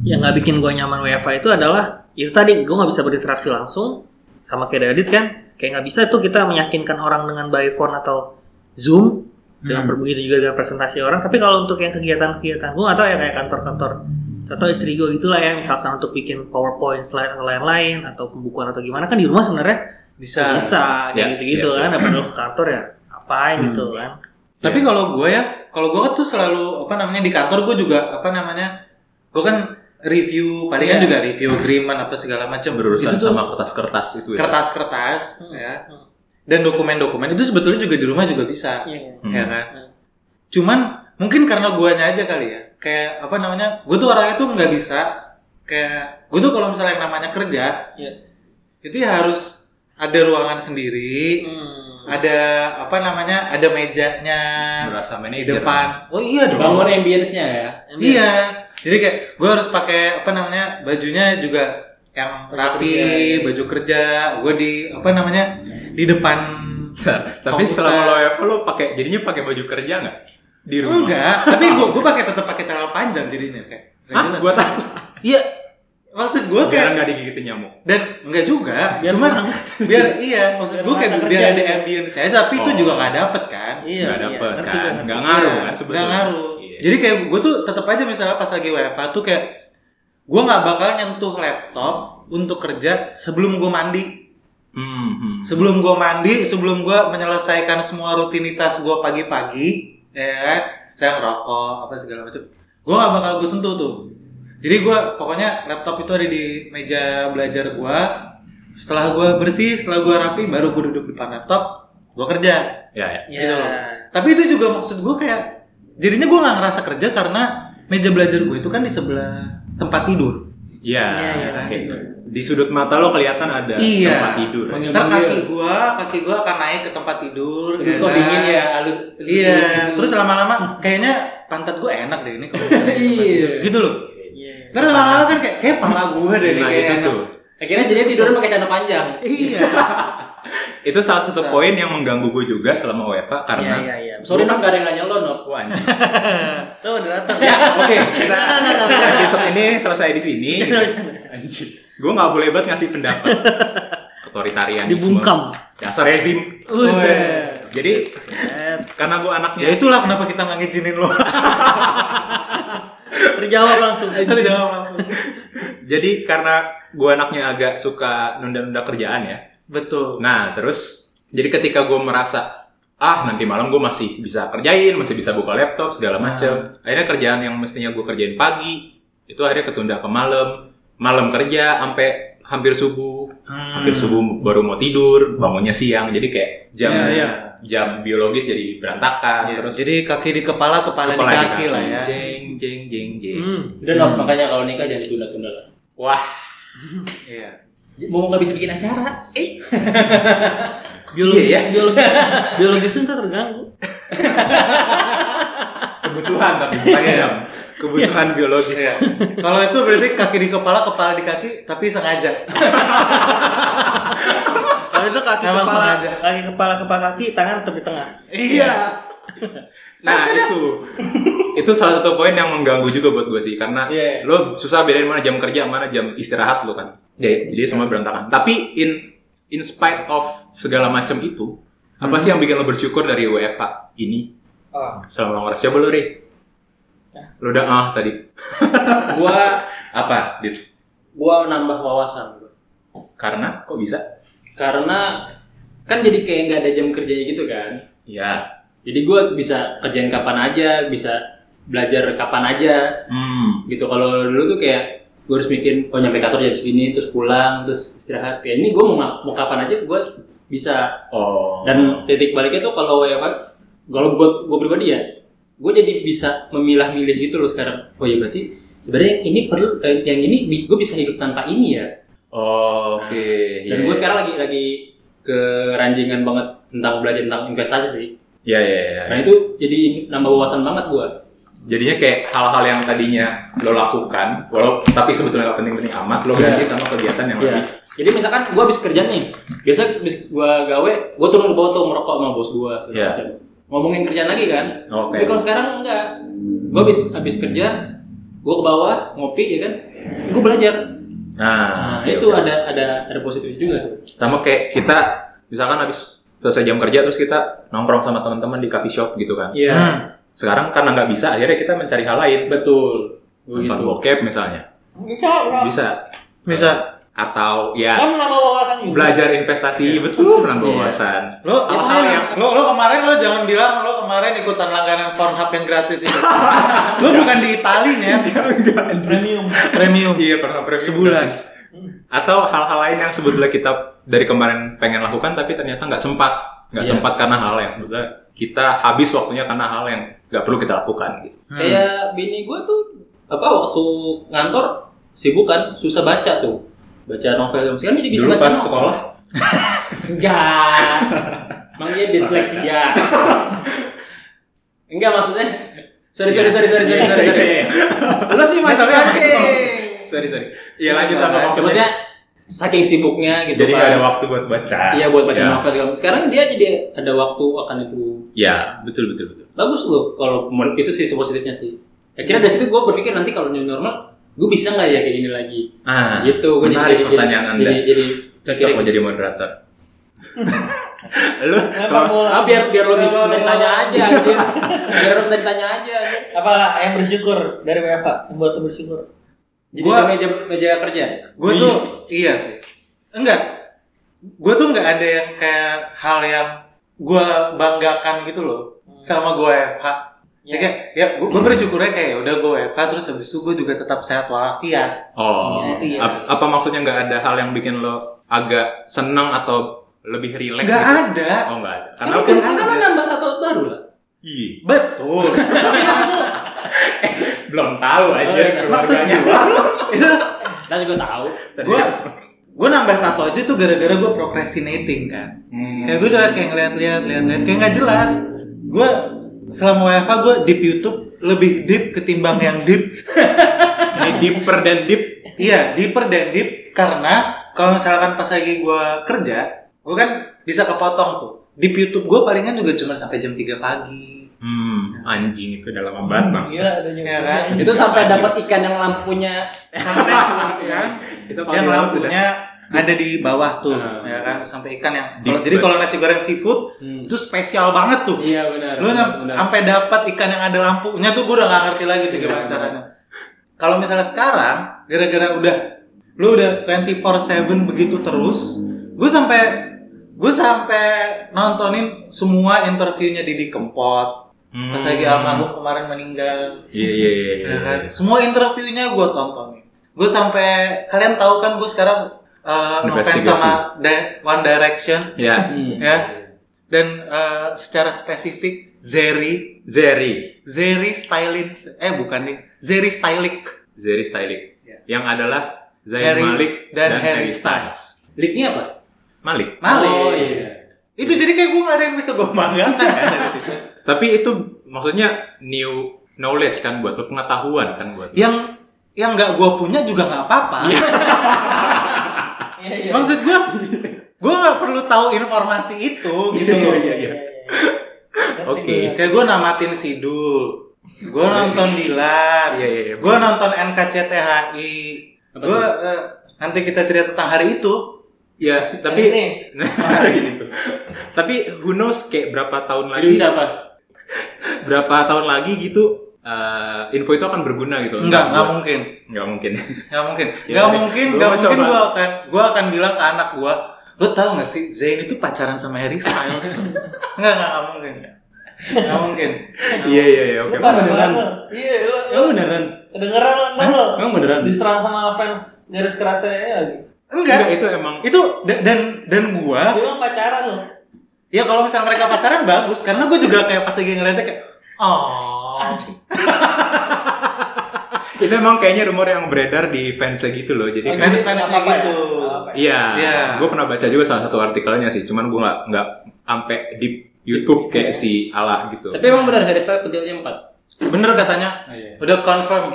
[SPEAKER 4] yang nggak bikin gue nyaman WFA itu adalah itu tadi gue nggak bisa berinteraksi langsung sama kayak Dadit kan kayak nggak bisa tuh kita meyakinkan orang dengan by phone atau zoom dengan
[SPEAKER 3] Hmm.
[SPEAKER 4] begitu juga dengan presentasi orang tapi kalau untuk yang kegiatan-kegiatan gue atau ya kayak kantor-kantor atau istri gue gitulah ya misalkan untuk bikin powerpoint slide atau lain-lain atau pembukuan atau gimana kan di rumah sebenarnya
[SPEAKER 5] Bisa.
[SPEAKER 4] bisa kayak
[SPEAKER 3] Ya,
[SPEAKER 4] gitu-gitu
[SPEAKER 3] ya. Hmm.
[SPEAKER 4] kan daripada lo ke kantor ya apain gitu kan
[SPEAKER 5] Tapi kalau gue ya, kalau gue tuh selalu apa namanya di kantor gue juga apa namanya, gue kan review palingan juga review agreement apa segala macam Itu
[SPEAKER 3] Berurusan
[SPEAKER 5] tuh
[SPEAKER 3] sama kertas-kertas itu ya.
[SPEAKER 5] kertas-kertas ya dan dokumen-dokumen itu sebetulnya juga di rumah juga bisa
[SPEAKER 4] Iya,
[SPEAKER 3] Hmm.
[SPEAKER 5] ya kan cuman mungkin karena guanya aja kali ya kayak apa namanya gue tuh orangnya tuh nggak bisa kayak gue tuh kalau misalnya yang namanya kerja
[SPEAKER 4] Iya.
[SPEAKER 5] itu ya harus ada ruangan sendiri
[SPEAKER 3] Hmm.
[SPEAKER 4] Hmm,
[SPEAKER 5] ada apa namanya ada mejanya
[SPEAKER 3] Berasa
[SPEAKER 5] di
[SPEAKER 3] manajer.
[SPEAKER 5] depan oh iya dong
[SPEAKER 1] Bangun ambience-nya ya.
[SPEAKER 5] Iya. Jadi kayak gue harus pakai apa namanya bajunya juga yang
[SPEAKER 3] iya,
[SPEAKER 5] rapi, baju kerja. Gue di apa namanya di depan.
[SPEAKER 3] Nah, Tapi
[SPEAKER 5] Komputer.
[SPEAKER 3] selama lo WFH, lo pakai jadinya pakai baju kerja nggak? Di rumah.
[SPEAKER 5] Enggak. tapi gue gue pakai tetap pakai celana panjang jadinya kayak. nggak
[SPEAKER 3] Hah?
[SPEAKER 5] jelas.
[SPEAKER 3] Gua tahu.
[SPEAKER 5] Iya. Maksud gue
[SPEAKER 3] Biar
[SPEAKER 5] kayak
[SPEAKER 3] nggak digigitin nyamuk.
[SPEAKER 5] dan enggak juga. cuman biar iya. Maksud
[SPEAKER 6] Biar
[SPEAKER 5] gue kayak
[SPEAKER 6] merasa
[SPEAKER 5] biar
[SPEAKER 6] kerja
[SPEAKER 5] ada
[SPEAKER 6] gitu.
[SPEAKER 5] ambience aja tapi itu
[SPEAKER 3] Oh.
[SPEAKER 5] juga nggak dapet kan.
[SPEAKER 4] Iya,
[SPEAKER 3] Nggak dapet
[SPEAKER 4] ngerti
[SPEAKER 3] kan?
[SPEAKER 4] gue, ngerti.
[SPEAKER 3] Nggak ngaruh
[SPEAKER 5] Iya,
[SPEAKER 3] kan sebetulnya.
[SPEAKER 5] nggak ngaruh.
[SPEAKER 3] Iya.
[SPEAKER 5] Jadi kayak gue tuh tetap aja misalnya pas lagi WFH tuh kayak gue nggak bakal nyentuh laptop untuk kerja sebelum gue mandi.
[SPEAKER 3] Hmm, hmm.
[SPEAKER 5] Sebelum gue mandi, sebelum gue menyelesaikan semua rutinitas gue pagi-pagi, ya kan? Saya ngerokok apa segala macam. Gue nggak bakal gue sentuh tuh. Jadi gue pokoknya laptop itu ada di meja belajar gue. Setelah gue bersih, setelah gue rapi, baru gue duduk depan laptop, gue kerja
[SPEAKER 3] Ya, ya.
[SPEAKER 4] Iya,
[SPEAKER 5] gitu loh. Tapi itu juga maksud gue kayak jadinya gue nggak ngerasa kerja karena meja belajar gue itu kan di sebelah tempat tidur.
[SPEAKER 3] Iya.
[SPEAKER 4] Iya, iya.
[SPEAKER 3] oke. Di sudut mata lo kelihatan ada
[SPEAKER 5] Iya.
[SPEAKER 3] tempat tidur.
[SPEAKER 1] Mengil-
[SPEAKER 5] Ntar kaki gue, kaki gue akan naik ke tempat tidur.
[SPEAKER 1] Aduh,
[SPEAKER 5] ya
[SPEAKER 1] kok
[SPEAKER 5] kan?
[SPEAKER 1] dingin ya, alu. alu-
[SPEAKER 5] Iya.
[SPEAKER 1] gitu.
[SPEAKER 5] Terus lama-lama kayaknya pantat gue enak deh ini kalau (laughs) misalnya di tempat
[SPEAKER 1] Iya.
[SPEAKER 5] tidur. Gitu loh.
[SPEAKER 4] Iya.
[SPEAKER 5] Ntar lama-lama kan kayak kayak pala gue deh nih
[SPEAKER 3] Nah,
[SPEAKER 5] kayak
[SPEAKER 3] itu
[SPEAKER 5] enak.
[SPEAKER 3] tuh.
[SPEAKER 1] Akhirnya jadi tidur pakai celana panjang.
[SPEAKER 5] Iya.
[SPEAKER 3] itu salah
[SPEAKER 5] Susah.
[SPEAKER 3] satu poin yang mengganggu gue juga selama UEFA karena
[SPEAKER 4] Iya, iya, iya.
[SPEAKER 1] Sorry Nok, gak ada yang nanya lo Nok.
[SPEAKER 5] (laughs)
[SPEAKER 3] Wah, anjing.
[SPEAKER 4] Lo udah datang
[SPEAKER 3] ya oke kita episode ini selesai di
[SPEAKER 5] (laughs)
[SPEAKER 3] sini anjing gue nggak boleh banget ngasih pendapat otoritarian
[SPEAKER 4] dibungkam.
[SPEAKER 3] dasar rezim
[SPEAKER 4] Buset.
[SPEAKER 3] jadi karena gue anaknya
[SPEAKER 5] (laughs) Ya itulah kenapa kita nggak ngizinin lo.
[SPEAKER 4] Terjawab langsung. (laughs)
[SPEAKER 5] Terus jawab langsung.
[SPEAKER 3] Jadi karena gue anaknya agak suka nunda-nunda kerjaan ya.
[SPEAKER 5] Betul.
[SPEAKER 3] Nah terus jadi ketika gue merasa ah nanti malam gue masih bisa kerjain, masih bisa buka laptop segala
[SPEAKER 5] Nah.
[SPEAKER 3] macem. Akhirnya kerjaan yang mestinya gue kerjain pagi itu akhirnya ketunda ke malam. Malam kerja sampai hampir subuh,
[SPEAKER 5] Hmm.
[SPEAKER 3] hampir subuh baru mau tidur, bangunnya siang. Jadi kayak jam
[SPEAKER 5] Iya, iya.
[SPEAKER 3] jam biologis jadi berantakan.
[SPEAKER 5] Ya,
[SPEAKER 3] Terus
[SPEAKER 5] jadi kaki di kepala, kepala,
[SPEAKER 3] kepala
[SPEAKER 5] di
[SPEAKER 3] di
[SPEAKER 5] kaki, lah ya.
[SPEAKER 3] Jeng jeng jeng jeng.
[SPEAKER 5] Hmm.
[SPEAKER 1] Udah Nob, makanya kalau nikah jangan ditunda-tunda lah.
[SPEAKER 3] Wah
[SPEAKER 5] Iya.
[SPEAKER 1] Mau nggak bisa bikin acara? Eh,
[SPEAKER 4] Biologis,
[SPEAKER 3] Iya, ya.
[SPEAKER 4] biologis, biologis ntar terganggu.
[SPEAKER 3] kebutuhan tapi bukannya jam. Kebutuhan biologis.
[SPEAKER 5] Iya. Kalau itu berarti kaki di kepala, kepala di kaki, tapi sengaja.
[SPEAKER 4] Kalau itu kaki
[SPEAKER 5] Emang
[SPEAKER 4] kepala,
[SPEAKER 5] sengaja.
[SPEAKER 4] kaki kepala kepala kaki, tangan tetap di tengah.
[SPEAKER 5] Iya.
[SPEAKER 3] Nah itu itu salah satu poin yang mengganggu juga buat gue sih karena
[SPEAKER 5] Iya.
[SPEAKER 3] lo susah bedain mana jam kerja mana jam istirahat lo kan. Ya, Jadi semua berantakan. Tapi in in spite of segala macam itu apa sih yang bikin lo bersyukur dari WFH ini?
[SPEAKER 4] Oh.
[SPEAKER 3] Selama ngores coba lo Ri. Lo udah ah tadi
[SPEAKER 1] gua
[SPEAKER 3] apa? Dit?
[SPEAKER 1] gua nambah wawasan gua.
[SPEAKER 3] Karena kok bisa?
[SPEAKER 1] Karena kan jadi kayak nggak ada jam kerjanya gitu kan.
[SPEAKER 3] Ya.
[SPEAKER 1] Jadi gua bisa kerjain kapan aja, bisa belajar kapan aja
[SPEAKER 3] Hmm.
[SPEAKER 1] gitu. Kalau dulu tuh kayak gue harus mikirin oh nyampe kantor jam segini terus pulang terus istirahat ya ini gue mau ngap- mau kapan aja gue bisa
[SPEAKER 3] Oh.
[SPEAKER 1] dan titik baliknya tuh kalau WFH kalau gue gue pribadi ya gue jadi bisa memilah-milih gitu loh sekarang oh ya berarti sebenarnya yang ini perlu eh, yang ini gue bisa hidup tanpa ini ya
[SPEAKER 3] Oh, oke.
[SPEAKER 1] Nah, dan gue sekarang lagi lagi keranjingan banget tentang belajar tentang investasi sih
[SPEAKER 3] Ya ya ya.
[SPEAKER 1] nah itu jadi nambah wawasan banget gue
[SPEAKER 3] jadinya kayak hal-hal yang tadinya lo lakukan walau tapi sebetulnya nggak penting-penting amat lo ganti sama kegiatan yang
[SPEAKER 1] Iya.
[SPEAKER 3] lebih
[SPEAKER 1] jadi misalkan gue habis kerja nih biasa habis gue gawe gue turun ke bawah tuh merokok sama bos gue
[SPEAKER 3] Iya.
[SPEAKER 1] ngomongin kerjaan lagi kan
[SPEAKER 3] oke
[SPEAKER 1] Tapi kalau sekarang enggak. Gue habis habis kerja, gue ke bawah ngopi ya kan. Gue belajar. Nah,
[SPEAKER 3] nah, oke,
[SPEAKER 1] itu
[SPEAKER 3] oke.
[SPEAKER 1] ada ada ada positifnya juga tuh.
[SPEAKER 3] sama kayak kita misalkan habis selesai jam kerja terus kita nongkrong sama teman-teman di coffee shop gitu kan
[SPEAKER 1] Iya,
[SPEAKER 5] Hmm.
[SPEAKER 3] sekarang karena nggak bisa akhirnya kita mencari hal lain
[SPEAKER 1] betul. Gua
[SPEAKER 3] nonton
[SPEAKER 1] gitu.
[SPEAKER 3] bokep misalnya
[SPEAKER 4] Bisa,
[SPEAKER 3] bisa
[SPEAKER 5] Bisa.
[SPEAKER 3] atau ya
[SPEAKER 4] Kan nambah wawasan juga.
[SPEAKER 3] belajar investasi betul menambah
[SPEAKER 1] Iya.
[SPEAKER 3] wawasan
[SPEAKER 5] Lo
[SPEAKER 1] Hal-hal yang
[SPEAKER 5] lo lo kemarin lo jangan bilang lo kemarin ikutan langganan Pornhub yang gratis itu. lo bukan di Italinya,
[SPEAKER 4] Premium.
[SPEAKER 5] premium.
[SPEAKER 3] Iya pernah premium
[SPEAKER 5] Sebulan.
[SPEAKER 3] gratis. (laughs) Atau hal-hal lain yang sebetulnya kita dari kemarin pengen lakukan tapi ternyata nggak sempat, nggak
[SPEAKER 1] Iya.
[SPEAKER 3] sempat karena hal yang sebetulnya kita habis waktunya karena hal yang nggak perlu kita lakukan. Gitu.
[SPEAKER 1] Kayak bini gue tuh apa waktu ngantor sibuk kan, susah baca tuh. Baca novel sekarang jadi bisa
[SPEAKER 3] Dulu
[SPEAKER 1] baca
[SPEAKER 3] pas
[SPEAKER 1] novel.
[SPEAKER 3] sekolah,
[SPEAKER 1] Enggak. Emang dia disleksia. Enggak maksudnya. Sorry sorry sorry (laughs) sorry sorry sorry.
[SPEAKER 3] Iya,
[SPEAKER 1] sorry. Lu sih macam mancing.
[SPEAKER 3] sorry sorry. Iya
[SPEAKER 5] Susah
[SPEAKER 3] lanjut apa
[SPEAKER 5] banget.
[SPEAKER 1] Coba maksudnya
[SPEAKER 3] maksudnya?
[SPEAKER 1] saking sibuknya gitu
[SPEAKER 3] Jadi
[SPEAKER 1] kan.
[SPEAKER 3] nggak ada waktu buat baca.
[SPEAKER 1] Iya buat baca
[SPEAKER 3] Ya.
[SPEAKER 1] novel segala macam. Sekarang dia jadi ada waktu akan itu
[SPEAKER 3] Iya betul betul betul.
[SPEAKER 1] bagus loh kalau men- itu sih positifnya sih. Akhirnya dari situ gue berpikir nanti kalau new normal gue bisa nggak ya kayak gini lagi?
[SPEAKER 3] Ah,
[SPEAKER 1] gitu gue jadi
[SPEAKER 3] menarik
[SPEAKER 1] jadi
[SPEAKER 3] pertanyaan
[SPEAKER 1] jadi,
[SPEAKER 3] Anda.
[SPEAKER 1] jadi, jadi
[SPEAKER 3] Cocok mau jadi
[SPEAKER 1] (laughs)
[SPEAKER 3] moderator. Lu
[SPEAKER 4] Lempar bola.
[SPEAKER 1] Ah, biar biar lo bisa
[SPEAKER 5] Kenapa
[SPEAKER 1] bentar
[SPEAKER 5] lu-
[SPEAKER 1] ditanya aja anjir. biar lo bentar ditanya aja anjir.
[SPEAKER 4] Apalah yang bersyukur dari WFH yang buat lu bersyukur.
[SPEAKER 1] jadi
[SPEAKER 5] Gua-
[SPEAKER 1] di meja meja kerja
[SPEAKER 5] Gue tuh iya sih. Enggak. Gue tuh nggak ada yang kayak hal yang gue banggakan gitu loh sama gue FH. Ya, kayak, ya gue bersyukurnya kayak ya udah gue FH terus habis itu gue juga tetap sehat walafiat.
[SPEAKER 3] Oh,
[SPEAKER 4] Iya, itu iya
[SPEAKER 3] ap- apa maksudnya nggak ada hal yang bikin lo agak senang atau lebih rileks?
[SPEAKER 5] Nggak
[SPEAKER 3] gitu?
[SPEAKER 5] ada.
[SPEAKER 3] Oh nggak ada. Karena
[SPEAKER 1] karena
[SPEAKER 3] aku
[SPEAKER 1] kan lo nambah satu baru lah
[SPEAKER 3] Iya.
[SPEAKER 5] Betul.
[SPEAKER 3] belum tahu
[SPEAKER 5] Oh,
[SPEAKER 3] aja
[SPEAKER 1] iya,
[SPEAKER 5] Maksudnya (laughs) itu
[SPEAKER 1] kita juga tahu
[SPEAKER 5] gue gue nambah tato aja tuh gara-gara gue procrastinating kan.
[SPEAKER 3] hmm,
[SPEAKER 5] Kayak gue juga kayak ngeliat-liat, liat-liat, kayak nggak jelas. Gue selama WFH gue deep YouTube lebih deep ketimbang yang deep.
[SPEAKER 3] ini deeper dan deep
[SPEAKER 5] Iya, deeper dan deep karena kalau misalkan pas lagi gue kerja, gue kan bisa kepotong tuh. Deep YouTube gue palingan juga cuma sampai jam 3 pagi.
[SPEAKER 3] hmm, anjing itu udah lama banget mas
[SPEAKER 4] Gila adanya.
[SPEAKER 5] Ya kan?
[SPEAKER 1] itu sampai dapat ikan yang lampunya
[SPEAKER 5] Sampai kan
[SPEAKER 3] kita
[SPEAKER 5] yang lampunya ada di bawah tuh,
[SPEAKER 3] Ah.
[SPEAKER 5] ya kan sampai ikan yang.
[SPEAKER 3] Deep
[SPEAKER 5] kalau- jadi
[SPEAKER 3] banget.
[SPEAKER 5] kalau nasi goreng seafood
[SPEAKER 1] Hmm.
[SPEAKER 5] itu spesial banget tuh.
[SPEAKER 1] iya benar
[SPEAKER 5] lu
[SPEAKER 1] benar,
[SPEAKER 5] nyam-
[SPEAKER 1] benar.
[SPEAKER 5] sampai dapat ikan yang ada lampunya tuh gue udah gak ngerti lagi tuh
[SPEAKER 1] Iya,
[SPEAKER 5] gimana
[SPEAKER 1] benar.
[SPEAKER 5] caranya kalau misalnya sekarang gara-gara udah lu udah 24/7 begitu terus gue sampai gue sampai nontonin semua interviewnya Didi Kempot pas lagi
[SPEAKER 1] Hmm.
[SPEAKER 5] almarhum kemarin meninggal
[SPEAKER 3] Iya iya iya.
[SPEAKER 5] Ya kan? Semua interviewnya gue tontonin. Gue sampai kalian tahu kan gue sekarang eh, ngefans
[SPEAKER 3] Investigasi.
[SPEAKER 5] sama Di- One Direction
[SPEAKER 3] Ya.
[SPEAKER 1] Hmm.
[SPEAKER 5] ya. Dan eh, secara spesifik Zeri,
[SPEAKER 3] Zeri,
[SPEAKER 5] Zeri Styling, eh bukan nih, Zeri Stylik,
[SPEAKER 3] Zeri Stylik.
[SPEAKER 5] Ya.
[SPEAKER 3] Yang adalah Zayn
[SPEAKER 5] Harry
[SPEAKER 3] Malik
[SPEAKER 5] dan Harry Styles.
[SPEAKER 1] Leak-nya apa?
[SPEAKER 3] Malik.
[SPEAKER 5] Malik.
[SPEAKER 1] Oh iya.
[SPEAKER 5] Itu jadi kayak gue gak ada yang bisa gue banggakan kan dari situ.
[SPEAKER 3] Tapi itu maksudnya new knowledge kan buat lo, pengetahuan kan buat lo.
[SPEAKER 5] Yang yang nggak gue punya juga nggak apa-apa.
[SPEAKER 4] Iya, iya.
[SPEAKER 5] Maksud gue, gue nggak perlu tahu informasi itu gitu loh.
[SPEAKER 3] Iya.
[SPEAKER 4] Iya,
[SPEAKER 3] (laughs) Oke.
[SPEAKER 5] Kayak gue namatin Sidul, gue nonton Dilan,
[SPEAKER 3] Iya, iya, iya.
[SPEAKER 5] gue nonton NKCTHI,
[SPEAKER 1] Apa
[SPEAKER 5] gue eh, nanti kita cerita tentang hari itu.
[SPEAKER 3] Ya, tapi Gini. tapi who knows kayak berapa tahun
[SPEAKER 1] Jadi
[SPEAKER 3] lagi
[SPEAKER 1] bisa apa?
[SPEAKER 3] berapa tahun lagi gitu eh, info itu akan berguna gitu loh.
[SPEAKER 5] Enggak, nggak
[SPEAKER 3] Buat-
[SPEAKER 5] mungkin,
[SPEAKER 3] nggak mungkin.
[SPEAKER 5] nggak mungkin,
[SPEAKER 3] Ya,
[SPEAKER 5] nggak mungkin,
[SPEAKER 3] gua
[SPEAKER 5] nggak
[SPEAKER 3] mau
[SPEAKER 5] mungkin
[SPEAKER 3] coba.
[SPEAKER 5] gue akan, gue akan bilang ke anak gue, lo tau gak sih Zayn itu pacaran sama Harry Styles? Enggak, enggak, nggak mungkin, nggak mungkin.
[SPEAKER 3] Iya iya iya oke.
[SPEAKER 4] Lu parah
[SPEAKER 1] beneran.
[SPEAKER 4] banget. Iya, lu
[SPEAKER 1] Emang beneran?
[SPEAKER 4] kedengeran lah ntar lo.
[SPEAKER 1] Emang beneran?
[SPEAKER 4] Diserang sama fans garis kerasnya ya, lagi.
[SPEAKER 5] Enggak,
[SPEAKER 3] Enggak itu emang
[SPEAKER 5] itu da- dan dan gue
[SPEAKER 4] Dia kan pacaran lo.
[SPEAKER 5] Ya kalau misalnya mereka pacaran bagus, karena gue juga kayak pas lagi ngeliatnya kayak, oh,
[SPEAKER 3] itu emang kayaknya rumor yang beredar di fansnya gitu loh. Jadi kan
[SPEAKER 5] fans fansnya
[SPEAKER 4] Nggak apa-apa ya,
[SPEAKER 5] gitu.
[SPEAKER 4] nggak apa-apa ya.
[SPEAKER 3] iya.
[SPEAKER 5] Iya.
[SPEAKER 3] Gue pernah baca juga salah satu artikelnya sih. Cuman gue nggak nggak sampai di YouTube kayak si Ala gitu.
[SPEAKER 1] Tapi emang benar Harry Styles pentilnya empat.
[SPEAKER 5] Bener katanya,
[SPEAKER 1] Oh, iya.
[SPEAKER 5] udah confirm.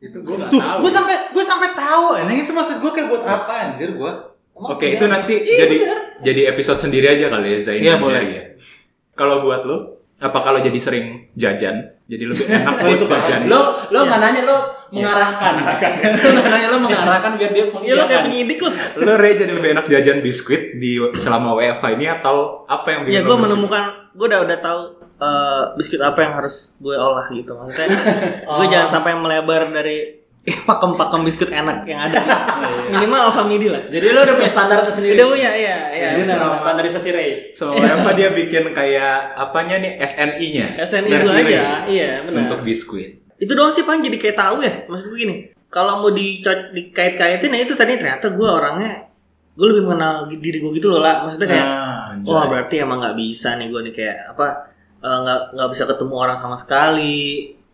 [SPEAKER 3] itu gue nggak
[SPEAKER 5] Tuh,
[SPEAKER 3] tahu.
[SPEAKER 5] gue sampai gue sampai tahu, anjing itu maksud gue kayak buat apa anjir gue?
[SPEAKER 4] Emang
[SPEAKER 3] Oke
[SPEAKER 4] iya.
[SPEAKER 3] itu nanti
[SPEAKER 4] Iya,
[SPEAKER 3] jadi
[SPEAKER 4] bener.
[SPEAKER 3] jadi episode sendiri aja kali ya Zain.
[SPEAKER 5] Iya,
[SPEAKER 3] dan
[SPEAKER 5] boleh.
[SPEAKER 3] Mary ya. Kalau buat lo, apa kalau jadi sering jajan? Jadi lebih
[SPEAKER 4] (laughs)
[SPEAKER 3] enak
[SPEAKER 5] Oh,
[SPEAKER 3] buat
[SPEAKER 5] itu bahas.
[SPEAKER 3] jajan.
[SPEAKER 1] Lo lo nggak nanya lo Iya. mengarahkan. (laughs) Lo nggak nanya lo mengarahkan biar dia
[SPEAKER 4] (laughs) Iya lo kayak
[SPEAKER 1] mengiyakan.
[SPEAKER 4] penyidik lo.
[SPEAKER 3] Lo Re jadi lebih enak jajan biskuit di selama WFH ini atau apa yang bikin
[SPEAKER 4] Ya
[SPEAKER 3] lo
[SPEAKER 4] gue
[SPEAKER 3] bersyukur?
[SPEAKER 4] menemukan, gue udah udah tahu eh, biskuit apa yang harus gue olah gitu (laughs) maksudnya. Gue jangan sampai melebar dari (laughs) pakem-pakem biskuit enak yang ada. Minimal Alfamidi lah.
[SPEAKER 1] Jadi lo udah punya standar tersendiri.
[SPEAKER 4] Udah punya, iya, iya.
[SPEAKER 1] Jadi
[SPEAKER 4] benar.
[SPEAKER 1] sama standarisasi Ray.
[SPEAKER 3] Selama WFH dia bikin kayak apanya nih SNI-nya.
[SPEAKER 4] SNI dulu aja, iya benar.
[SPEAKER 3] Untuk biskuit.
[SPEAKER 4] Itu doang sih pan jadi kayak tahu ya, maksud gue gini. Kalau mau dico- dikait-kaitin ya itu tadi ternyata gue orangnya gue lebih mengenal diri gue gitu loh lah. Maksudnya kayak
[SPEAKER 3] Ah, anjay.
[SPEAKER 4] Wah berarti emang nggak bisa nih gue nih kayak apa eh, nggak nggak bisa ketemu orang sama sekali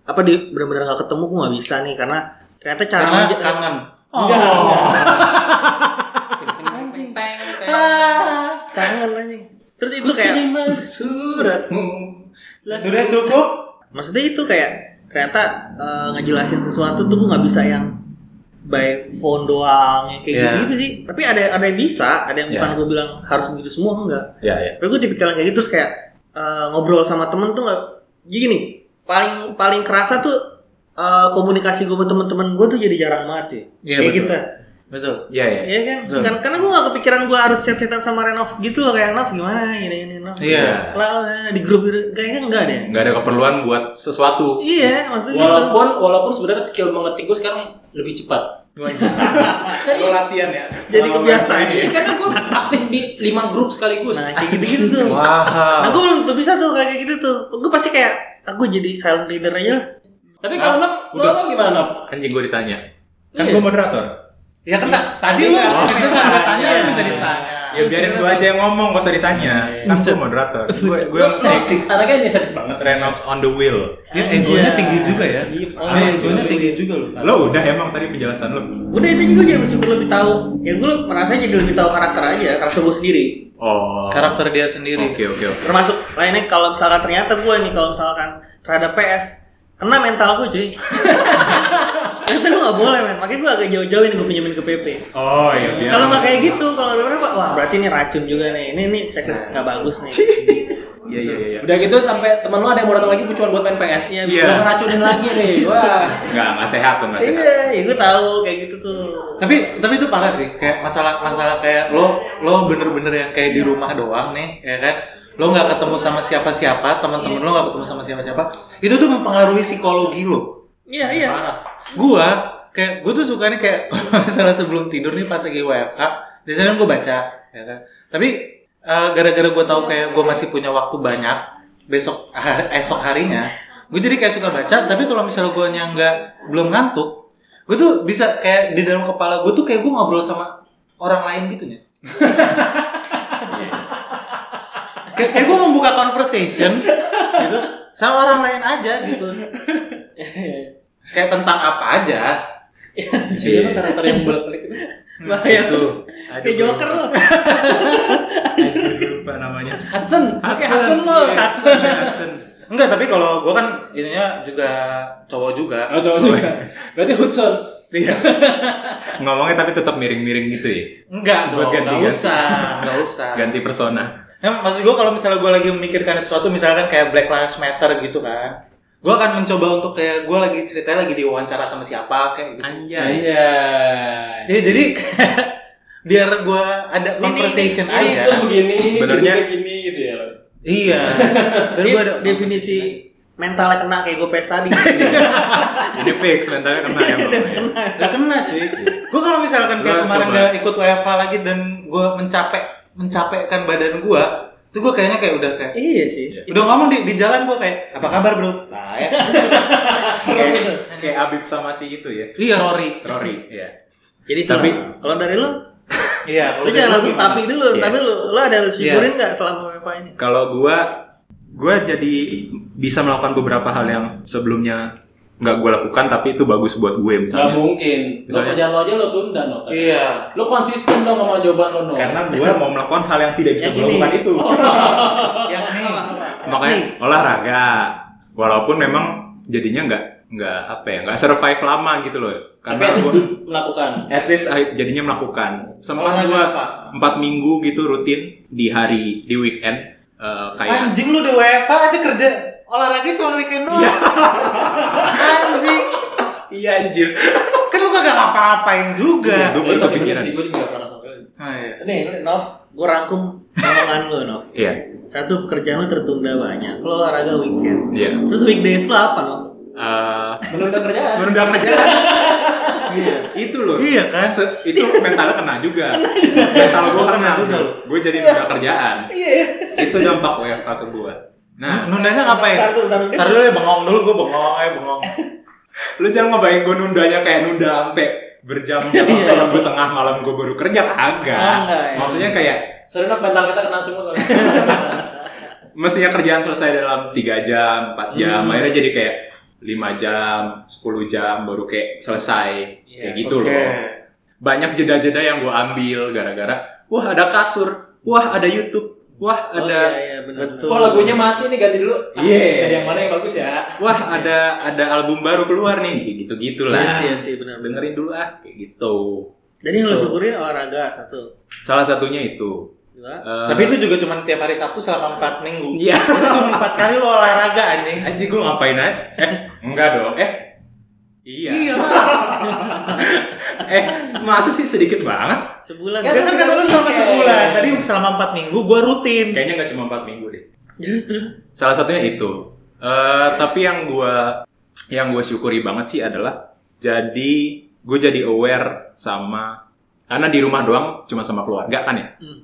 [SPEAKER 4] apa di benar-benar nggak ketemu gue nggak bisa nih karena ternyata cara
[SPEAKER 5] Karena
[SPEAKER 4] menja-
[SPEAKER 5] kangen.
[SPEAKER 4] Enggak,
[SPEAKER 1] Anjing teng
[SPEAKER 5] Ah.
[SPEAKER 4] kangen anjing terus itu kayak
[SPEAKER 1] suratmu.
[SPEAKER 5] Oh. (laughs) Sudah cukup?
[SPEAKER 4] maksudnya itu kayak ternyata eh, ngejelasin sesuatu tuh gue nggak bisa yang by phone doang yang kayak
[SPEAKER 5] Iya.
[SPEAKER 4] gitu sih tapi ada ada yang bisa ada yang bukan gue bilang harus begitu semua enggak
[SPEAKER 3] Ya, ya.
[SPEAKER 4] Tapi gue tipikal kayak gitu terus kayak eh, ngobrol sama temen tuh nggak jadi gini paling paling kerasa tuh eh, komunikasi gue sama temen-temen gue tuh jadi jarang banget ya.
[SPEAKER 5] Iya,
[SPEAKER 4] kayak
[SPEAKER 5] betul.
[SPEAKER 4] kita.
[SPEAKER 5] Betul.
[SPEAKER 3] Ya, ya.
[SPEAKER 4] Iya kan?
[SPEAKER 5] Betul.
[SPEAKER 4] Kan- karena gue gak kepikiran gue harus chat-chatan sama Renov gitu loh kayak Renov gimana gini gini Renov.
[SPEAKER 5] Iya.
[SPEAKER 4] Lalu di grup gitu kayaknya enggak deh.
[SPEAKER 3] Nggak ada keperluan buat sesuatu.
[SPEAKER 4] Iya, maksudnya gitu.
[SPEAKER 1] Walaupun walaupun sebenarnya skill mengetik gue sekarang lebih cepat.
[SPEAKER 5] Lo
[SPEAKER 1] (laughs) Serius.
[SPEAKER 5] latihan ya.
[SPEAKER 4] Jadi kebiasaan.
[SPEAKER 1] Iya, karena gue aktif di lima grup sekaligus.
[SPEAKER 4] Nah, kayak gitu-gitu tuh. Nah,
[SPEAKER 5] Wah.
[SPEAKER 4] gue belum tuh bisa tuh kayak gitu tuh. Gue pasti kayak aku jadi silent reader aja lah.
[SPEAKER 1] Tapi kalau Nop, lo
[SPEAKER 5] udah.
[SPEAKER 1] Nop gimana Nop?
[SPEAKER 3] Anjing gue ditanya. Kan
[SPEAKER 4] Iya.
[SPEAKER 3] gue moderator.
[SPEAKER 5] Ya kan ta- tadi lu kita nggak tanya, lu minta ditanya.
[SPEAKER 3] Ya biarin gue aja yang ngomong, gak usah ditanya. Kan gue moderator. Gue gue
[SPEAKER 1] Lo- lo anaknya inisiatif banget.
[SPEAKER 3] Renovs on the wheel.
[SPEAKER 5] Dia egonya tinggi juga ya.
[SPEAKER 1] Iya,
[SPEAKER 5] Dia egonya tinggi juga loh.
[SPEAKER 3] Lo udah emang tadi penjelasan lo.
[SPEAKER 4] Udah itu juga jadi bersyukur lebih tahu. Ya gue merasa jadi lebih tahu karakter aja, karakter gue sendiri.
[SPEAKER 3] Oh.
[SPEAKER 5] Karakter dia sendiri.
[SPEAKER 3] Oke oke oke.
[SPEAKER 4] Termasuk lainnya kalau misalkan ternyata gue nih kalau misalkan terhadap PS kena mental gue
[SPEAKER 1] (laughs)
[SPEAKER 4] cuy. ternyata gue gak boleh men, makanya gue agak jauh-jauhin gue pinjemin ke PP.
[SPEAKER 3] Oh
[SPEAKER 1] Ya.
[SPEAKER 3] iya biar.
[SPEAKER 4] Kalau nggak kayak gitu, kalau bener wah berarti ini racun juga nih. Ini ini checklist nggak bagus
[SPEAKER 1] (laughs)
[SPEAKER 4] nih.
[SPEAKER 3] Iya iya iya.
[SPEAKER 1] Udah gitu sampai teman lo ada yang mau datang lagi bu, cuma buat main PS. Iya.
[SPEAKER 3] Iya.
[SPEAKER 1] Bisa ngeracunin lagi nih. Wah.
[SPEAKER 3] Nggak nggak sehat tuh nggak sehat.
[SPEAKER 4] iya, ya gue tahu kayak gitu tuh.
[SPEAKER 5] tapi tapi itu parah sih kayak masalah masalah kayak lo lo bener-bener yang kayak di rumah doang nih ya kan lo nggak ketemu sama siapa-siapa teman-teman lo nggak ketemu sama siapa-siapa itu tuh mempengaruhi psikologi lo
[SPEAKER 4] (laughs) Iya iya.
[SPEAKER 1] Parah.
[SPEAKER 5] gua kayak gue tuh sukanya kayak (laughs) kalau misalnya sebelum tidur nih pas lagi WFH biasanya kan gue baca ya kan tapi eh, gara-gara gue tahu kayak gue masih punya waktu banyak besok hari- esok harinya gue jadi kayak suka baca tapi kalau misalnya gue yang nggak belum ngantuk gue tuh bisa kayak di dalam kepala gue tuh kayak gue ngobrol sama orang lain gitu ya (laughs) kayak, kayak gue membuka conversation gitu sama orang lain aja gitu kayak tentang apa aja
[SPEAKER 1] Iya.
[SPEAKER 4] Jadi karakter yang bolak balik Hmm, itu. Bahaya tuh. Kayak Joker lo.
[SPEAKER 2] Gue lupa namanya.
[SPEAKER 4] Hudson. Pakai Hudson lo.
[SPEAKER 2] Iya,
[SPEAKER 5] Hudson, Hudson. enggak tapi kalau gue kan ininya juga cowok juga
[SPEAKER 1] Oh, cowok juga. Berarti Hudson.
[SPEAKER 5] iya
[SPEAKER 3] Ngomongnya tapi tetap miring-miring gitu ya.
[SPEAKER 5] enggak
[SPEAKER 3] Buat
[SPEAKER 5] dong
[SPEAKER 3] ganti,
[SPEAKER 5] nggak
[SPEAKER 3] ganti.
[SPEAKER 5] usah
[SPEAKER 3] (laughs)
[SPEAKER 5] nggak usah
[SPEAKER 3] Ganti persona.
[SPEAKER 5] Em, maksud gue kalau misalnya gue lagi memikirkan sesuatu misalkan kayak Black Lives Matter gitu kan gue akan mencoba untuk kayak gue lagi ceritanya lagi diwawancara sama siapa kayak gitu
[SPEAKER 2] Anjay.
[SPEAKER 1] Iya.
[SPEAKER 5] ya, jadi (laughs) kayak biar gue ada conversation
[SPEAKER 1] ini,
[SPEAKER 5] aja
[SPEAKER 1] Itu begini,
[SPEAKER 3] Sebenarnya-
[SPEAKER 1] itu begini gitu ya.
[SPEAKER 5] iya biar gue ada
[SPEAKER 4] Ini definisi mentalnya kena kayak gue pes tadi.
[SPEAKER 3] Ini fix mentalnya kena ya. Bro, ya.
[SPEAKER 5] Gak kena cuy Gue kalau misalkan
[SPEAKER 3] Lu
[SPEAKER 5] kayak kemarin
[SPEAKER 3] coba.
[SPEAKER 5] gak ikut WFH lagi dan gue mencapek Mencapekkan badan gue Itu gue kayaknya kayak udah kayak
[SPEAKER 4] (laughs) iya sih.
[SPEAKER 5] Udah ngomong di, di jalan gue kayak Apa kabar bro? Nah, ya. Baik
[SPEAKER 4] Serem gitu. itu.
[SPEAKER 3] Kayak Abib sama si itu ya.
[SPEAKER 5] Iya Rory
[SPEAKER 3] Rory, ya.
[SPEAKER 4] Jadi tapi
[SPEAKER 3] Tapi-
[SPEAKER 4] kalau dari lo,
[SPEAKER 5] Iya
[SPEAKER 4] lo jangan langsung tapi dulu,
[SPEAKER 3] Iya.
[SPEAKER 4] tapi lo, lo ada lo syukurin nggak selama WFH ini?
[SPEAKER 3] Kalau gua gua jadi bisa melakukan beberapa hal yang sebelumnya nggak gua lakukan tapi itu bagus buat
[SPEAKER 1] Gak
[SPEAKER 3] gue misalnya.
[SPEAKER 1] mungkin. Lo
[SPEAKER 3] Misalnya-
[SPEAKER 1] kerjaan lo aja lo tunda, no.
[SPEAKER 5] Iya
[SPEAKER 1] Lo konsisten dong sama jawaban lo, no.
[SPEAKER 3] Karena gua mau melakukan hal yang tidak bisa
[SPEAKER 4] Yang
[SPEAKER 3] gua
[SPEAKER 4] ini.
[SPEAKER 3] lakukan itu.
[SPEAKER 5] Yang Oh, nih
[SPEAKER 3] makanya olahraga walaupun memang jadinya nggak nggak apa ya nggak survive lama gitu loh
[SPEAKER 1] Tapi
[SPEAKER 3] karena
[SPEAKER 1] harus
[SPEAKER 3] gua,
[SPEAKER 1] du- melakukan.
[SPEAKER 3] at least I- jadinya melakukan sempat
[SPEAKER 5] Olahraga
[SPEAKER 3] gua
[SPEAKER 5] apa?
[SPEAKER 3] empat minggu gitu rutin di hari di weekend eh, kayak
[SPEAKER 5] Anjing lu udah WFH aja kerja Olahraga cuma weekend doang Anjing
[SPEAKER 3] iya anjir
[SPEAKER 5] (laughs) Kan lu kagak ngapa-ngapain juga
[SPEAKER 3] gue Iya,
[SPEAKER 1] Iya,
[SPEAKER 3] baru kepikiran
[SPEAKER 1] Gue juga pernah sampai.
[SPEAKER 5] Nah, iya.
[SPEAKER 4] Nih, Nov, gue rangkum omongan lo, Nov.
[SPEAKER 3] iya
[SPEAKER 4] Satu pekerjaan lo tertunda banyak, lo olahraga weekend.
[SPEAKER 3] iya
[SPEAKER 4] Terus weekdays lo apa, Nov?
[SPEAKER 3] Eh,
[SPEAKER 1] Menunda kerjaan.
[SPEAKER 3] menunda kerjaan (laughs) iya itu loh
[SPEAKER 5] Iya kan?
[SPEAKER 3] Se- itu mentalnya kena juga mental gue kena juga
[SPEAKER 5] loh.
[SPEAKER 3] gue jadi menunda kerjaan
[SPEAKER 4] Iya, iya.
[SPEAKER 3] itu dampak WFH ke gue nah
[SPEAKER 5] Nundanya ngapain?
[SPEAKER 4] Ntar dulu, ntar dulu.
[SPEAKER 5] Ntar dulu ya bengong dulu gue bengong aja bengong
[SPEAKER 3] lu jangan ngebayangin gue nundanya kayak nunda sampai berjam-jam
[SPEAKER 4] Iya.
[SPEAKER 3] kalau gue tengah malam gue baru kerja kagak
[SPEAKER 4] Ah, enggak, ya.
[SPEAKER 3] maksudnya kayak
[SPEAKER 1] Sering dong mental kita kena semua.
[SPEAKER 3] (laughs)
[SPEAKER 1] soalnya.
[SPEAKER 3] mestinya kerjaan selesai dalam 3 jam 4 jam akhirnya jadi kayak 5 jam 10 jam baru kayak selesai kayak gitu
[SPEAKER 5] Oke.
[SPEAKER 3] loh banyak jeda-jeda yang gue ambil gara-gara wah ada kasur wah ada YouTube wah
[SPEAKER 4] Oh,
[SPEAKER 3] ada
[SPEAKER 4] iya, iya, benar.
[SPEAKER 5] Betul.
[SPEAKER 1] Oh lagunya mati nih ganti dulu. Ah,
[SPEAKER 3] Iya.
[SPEAKER 1] Dari yang mana yang bagus ya?
[SPEAKER 3] wah ada ada album baru keluar nih kayak gitu gitulah
[SPEAKER 4] Iya, iya, sih, benar, benar.
[SPEAKER 3] dengerin dulu ah kayak gitu
[SPEAKER 4] Jadi yang lo syukurin olahraga satu,
[SPEAKER 3] salah satunya itu
[SPEAKER 4] dua.
[SPEAKER 3] Eh,
[SPEAKER 5] Tapi itu juga cuma tiap hari Sabtu selama 4 minggu.
[SPEAKER 3] Iya.
[SPEAKER 5] Itu cuma 4 kali lo olahraga anjing.
[SPEAKER 3] Anjing gue ngapain aja? Eh, enggak dong. Eh, iya.
[SPEAKER 5] lah.
[SPEAKER 3] eh, masa sih sedikit banget?
[SPEAKER 4] Sebulan.
[SPEAKER 5] Ya kan kata lu selama
[SPEAKER 1] Oke.
[SPEAKER 5] sebulan. Tadi selama 4 minggu gua rutin.
[SPEAKER 3] Kayaknya nggak cuma 4 minggu deh.
[SPEAKER 4] Terus, terus.
[SPEAKER 3] Salah satunya itu. Eh, tapi yang gua yang gue syukuri banget sih adalah jadi gue jadi aware sama karena di rumah doang cuma sama keluarga kan ya.
[SPEAKER 4] Hmm.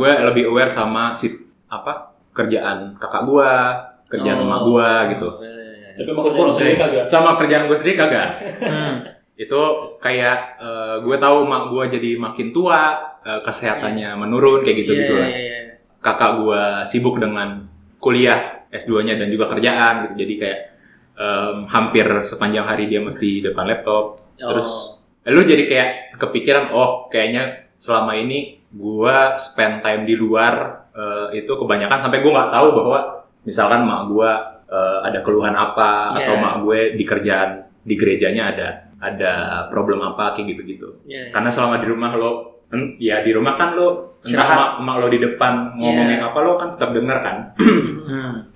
[SPEAKER 3] gue lebih aware sama si apa kerjaan kakak gua, kerjaan
[SPEAKER 4] Oh.
[SPEAKER 3] emak gua gitu.
[SPEAKER 1] Tapi mau kerja lo sendiri kagak.
[SPEAKER 3] Sama kerjaan gue sendiri kagak. itu kayak eh, gue tahu mak gue jadi makin tua eh, kesehatannya menurun kayak gitu gitu lah
[SPEAKER 4] Iya, iya, iya.
[SPEAKER 3] kakak gue sibuk dengan kuliah S 2 nya dan juga kerjaan gitu jadi kayak em, hampir sepanjang hari dia mesti depan laptop terus lu jadi kayak kepikiran oh kayaknya selama ini gue spend time di luar eh, itu kebanyakan sampai gue nggak tahu bahwa misalkan mak gue eh, ada keluhan apa atau
[SPEAKER 4] Yeah.
[SPEAKER 3] mak gue di kerjaan di gerejanya ada ada problem apa kayak gitu gitu
[SPEAKER 4] Iya, iya.
[SPEAKER 3] karena selama di rumah lo en- ya di rumah kan lo entah
[SPEAKER 4] Istirahat.
[SPEAKER 3] mak, mak lo di depan ngomongin apa lo kan tetap denger kan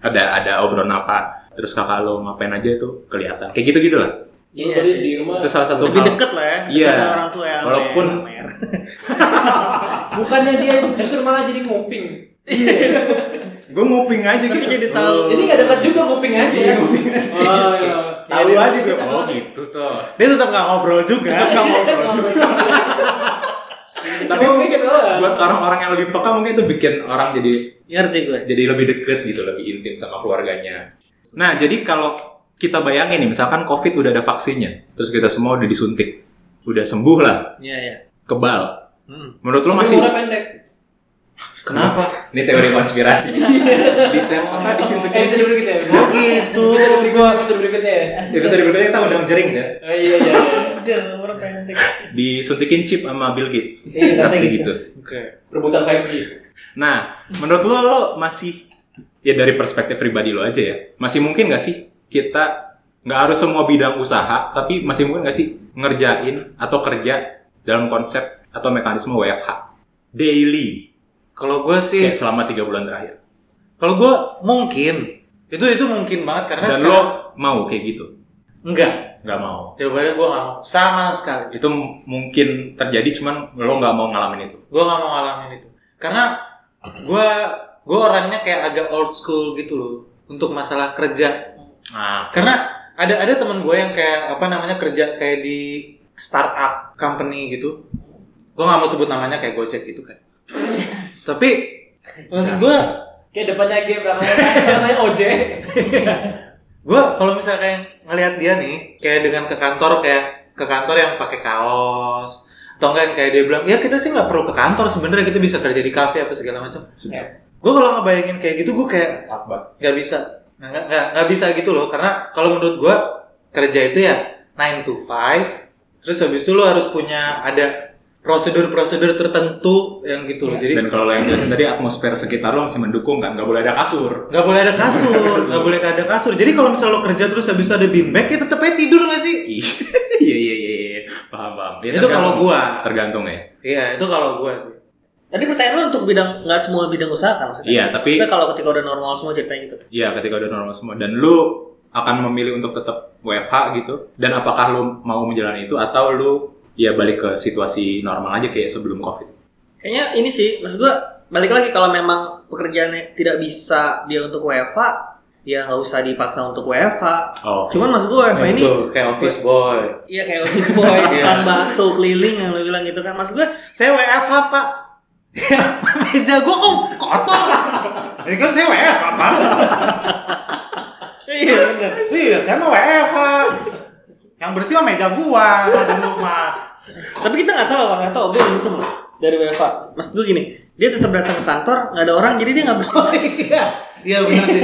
[SPEAKER 3] ada ada obrolan apa terus kakak lo ngapain aja itu kelihatan kayak gitu gitulah
[SPEAKER 1] Lu
[SPEAKER 4] Iya
[SPEAKER 1] tadi
[SPEAKER 4] sih.
[SPEAKER 1] di rumah.
[SPEAKER 3] itu salah satu
[SPEAKER 4] lebih
[SPEAKER 3] hal
[SPEAKER 4] deket lah ya
[SPEAKER 3] Iya.
[SPEAKER 4] deket sama orang tua ya
[SPEAKER 3] Walaupun-
[SPEAKER 4] Amer.
[SPEAKER 1] Bukannya dia justru malah jadi nguping.
[SPEAKER 2] Gue nguping aja
[SPEAKER 4] Tapi
[SPEAKER 2] gitu.
[SPEAKER 4] jadi tahu.
[SPEAKER 3] Oh.
[SPEAKER 1] Jadi nggak dekat juga kuping aja ya. Oh
[SPEAKER 3] (laughs)
[SPEAKER 1] iya.
[SPEAKER 2] Tahu aja gue.
[SPEAKER 3] Oh gitu tuh.
[SPEAKER 2] Dia tetap nggak ngobrol juga, nggak ngobrol juga.
[SPEAKER 3] Tapi mungkin
[SPEAKER 2] gitu
[SPEAKER 3] buat orang-orang yang lebih peka mungkin itu bikin orang jadi
[SPEAKER 4] Iya, Ngerti gue.
[SPEAKER 3] jadi lebih deket gitu, lebih intim sama keluarganya. Nah, jadi kalau kita bayangin nih, misalkan COVID udah ada vaksinnya, terus kita semua udah disuntik, udah sembuh lah,
[SPEAKER 4] Iya iya.
[SPEAKER 3] kebal.
[SPEAKER 4] Hmm.
[SPEAKER 3] Menurut lo
[SPEAKER 1] Masih
[SPEAKER 3] masih?
[SPEAKER 1] pendek.
[SPEAKER 5] Kenapa?
[SPEAKER 3] Ini teori konspirasi.
[SPEAKER 2] Di tema apa di situ
[SPEAKER 1] Eh bisa dulu kita ya.
[SPEAKER 5] Oh gitu.
[SPEAKER 1] Bisa berikutnya, bisa berikutnya ya.
[SPEAKER 3] Episode berikutnya kita undang jering ya.
[SPEAKER 1] Oh iya iya. iya.
[SPEAKER 4] Anjir, umur pendek.
[SPEAKER 3] Disuntikin chip sama Bill Gates.
[SPEAKER 4] Iya, katanya
[SPEAKER 3] Tapi
[SPEAKER 4] gitu.
[SPEAKER 3] gitu.
[SPEAKER 1] Rebutan 5G.
[SPEAKER 3] Nah, menurut lo lo masih ya dari perspektif pribadi lo aja ya, masih mungkin nggak sih kita nggak harus semua bidang usaha, tapi masih mungkin nggak sih ngerjain atau kerja dalam konsep atau mekanisme WFH daily
[SPEAKER 5] Kalau gue sih,
[SPEAKER 3] kayak selama tiga bulan terakhir.
[SPEAKER 5] kalau gue mungkin itu itu mungkin banget karena
[SPEAKER 3] Dan lo
[SPEAKER 5] sekarang-
[SPEAKER 3] mau kayak gitu?
[SPEAKER 5] enggak
[SPEAKER 3] Nggak mau.
[SPEAKER 5] jawabannya gue nggak mau sama sekali
[SPEAKER 3] Itu m- mungkin terjadi, cuman lo nggak mau ngalamin itu.
[SPEAKER 5] gue nggak mau ngalamin itu karena gue gue orangnya kayak agak old school gitu loh untuk masalah kerja
[SPEAKER 3] Nah,
[SPEAKER 5] karena ada ada teman gue yang kayak apa namanya kerja kayak di startup company gitu gue nggak mau sebut namanya kayak gojek gitu kan tapi maksud gue
[SPEAKER 1] Kayak depannya G, belakangnya belakangnya OJ.
[SPEAKER 5] gue kalau misalnya ngelihat dia nih kayak dengan ke kantor kayak ke kantor yang pakai kaos atau enggak yang kayak dia bilang ya kita sih nggak perlu ke kantor sebenarnya kita bisa kerja di kafe apa segala macam
[SPEAKER 3] sudah.
[SPEAKER 5] gue kalau ngebayangin kayak gitu gue kayak
[SPEAKER 3] Akbar.
[SPEAKER 5] nggak bisa nggak nggak nggak bisa gitu loh karena kalau menurut gue kerja itu ya 9 to 5 terus habis itu lo harus punya ada prosedur-prosedur tertentu yang gitu loh jadi
[SPEAKER 3] Iya. Dan kalau lo yang jelasin tadi atmosfer sekitar lo masih mendukung kan, nggak boleh ada kasur.
[SPEAKER 5] nggak boleh ada kasur nggak boleh ada kasur jadi kalau misalnya lo kerja terus habis itu ada beanbag ya tetep aja tidur nggak sih
[SPEAKER 3] (laughs) Iya iya iya iya. paham paham. Ya,
[SPEAKER 5] itu kalau
[SPEAKER 3] tergantung-
[SPEAKER 5] gua
[SPEAKER 3] tergantung ya.
[SPEAKER 5] Iya, itu kalau gua sih.
[SPEAKER 4] Tadi pertanyaan lu untuk bidang nggak semua bidang usaha kan maksudnya?
[SPEAKER 3] Iya, tapi-
[SPEAKER 4] Kita kalau ketika udah normal semua ceritanya gitu.
[SPEAKER 3] Iya ketika udah normal semua dan lu akan memilih untuk tetap WFH gitu dan apakah lu mau menjalani itu atau lu ya balik ke situasi normal aja kayak sebelum covid.
[SPEAKER 4] Kayaknya ini sih maksud gua balik lagi kalau memang pekerjaannya tidak bisa dia untuk WFA ya nggak usah dipaksa untuk WFA.
[SPEAKER 3] Oh.
[SPEAKER 4] Cuman maksud gua WFA ini
[SPEAKER 5] kayak office boy.
[SPEAKER 4] Iya kayak office
[SPEAKER 3] (laughs)
[SPEAKER 4] boy
[SPEAKER 5] Iya.
[SPEAKER 4] bukan bakso keliling yang lo bilang gitu kan maksud gue
[SPEAKER 5] Saya WFH, Pak. Ya, meja gua kok kotor. Ini kan saya WFH, Pak.
[SPEAKER 4] iya bener
[SPEAKER 5] Iya, saya mau WFH. Yang bersih mah meja gua, di rumah.
[SPEAKER 4] tapi kita nggak tahu nggak tahu gue untung loh dari WFA maksud gue gini dia tetap datang ke kantor nggak ada orang jadi dia nggak bersih
[SPEAKER 5] Iya, iya benar sih.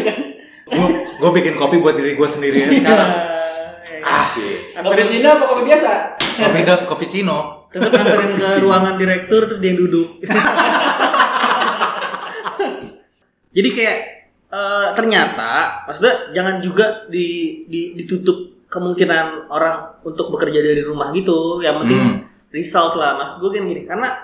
[SPEAKER 5] Gua, gua bikin kopi buat diri gua sendiri ya sekarang. Ah,
[SPEAKER 3] Iya.
[SPEAKER 1] Kopi
[SPEAKER 4] anterin
[SPEAKER 1] Cina apa kopi biasa?
[SPEAKER 5] kopi ke kopi Cino.
[SPEAKER 4] tetap anterin ke ruangan direktur terus dia duduk (laughs) jadi kayak eh, ternyata maksudnya jangan juga di, di- ditutup kemungkinan orang untuk bekerja dari rumah gitu yang penting
[SPEAKER 3] Hmm.
[SPEAKER 4] result lah maksud gue gini, gini karena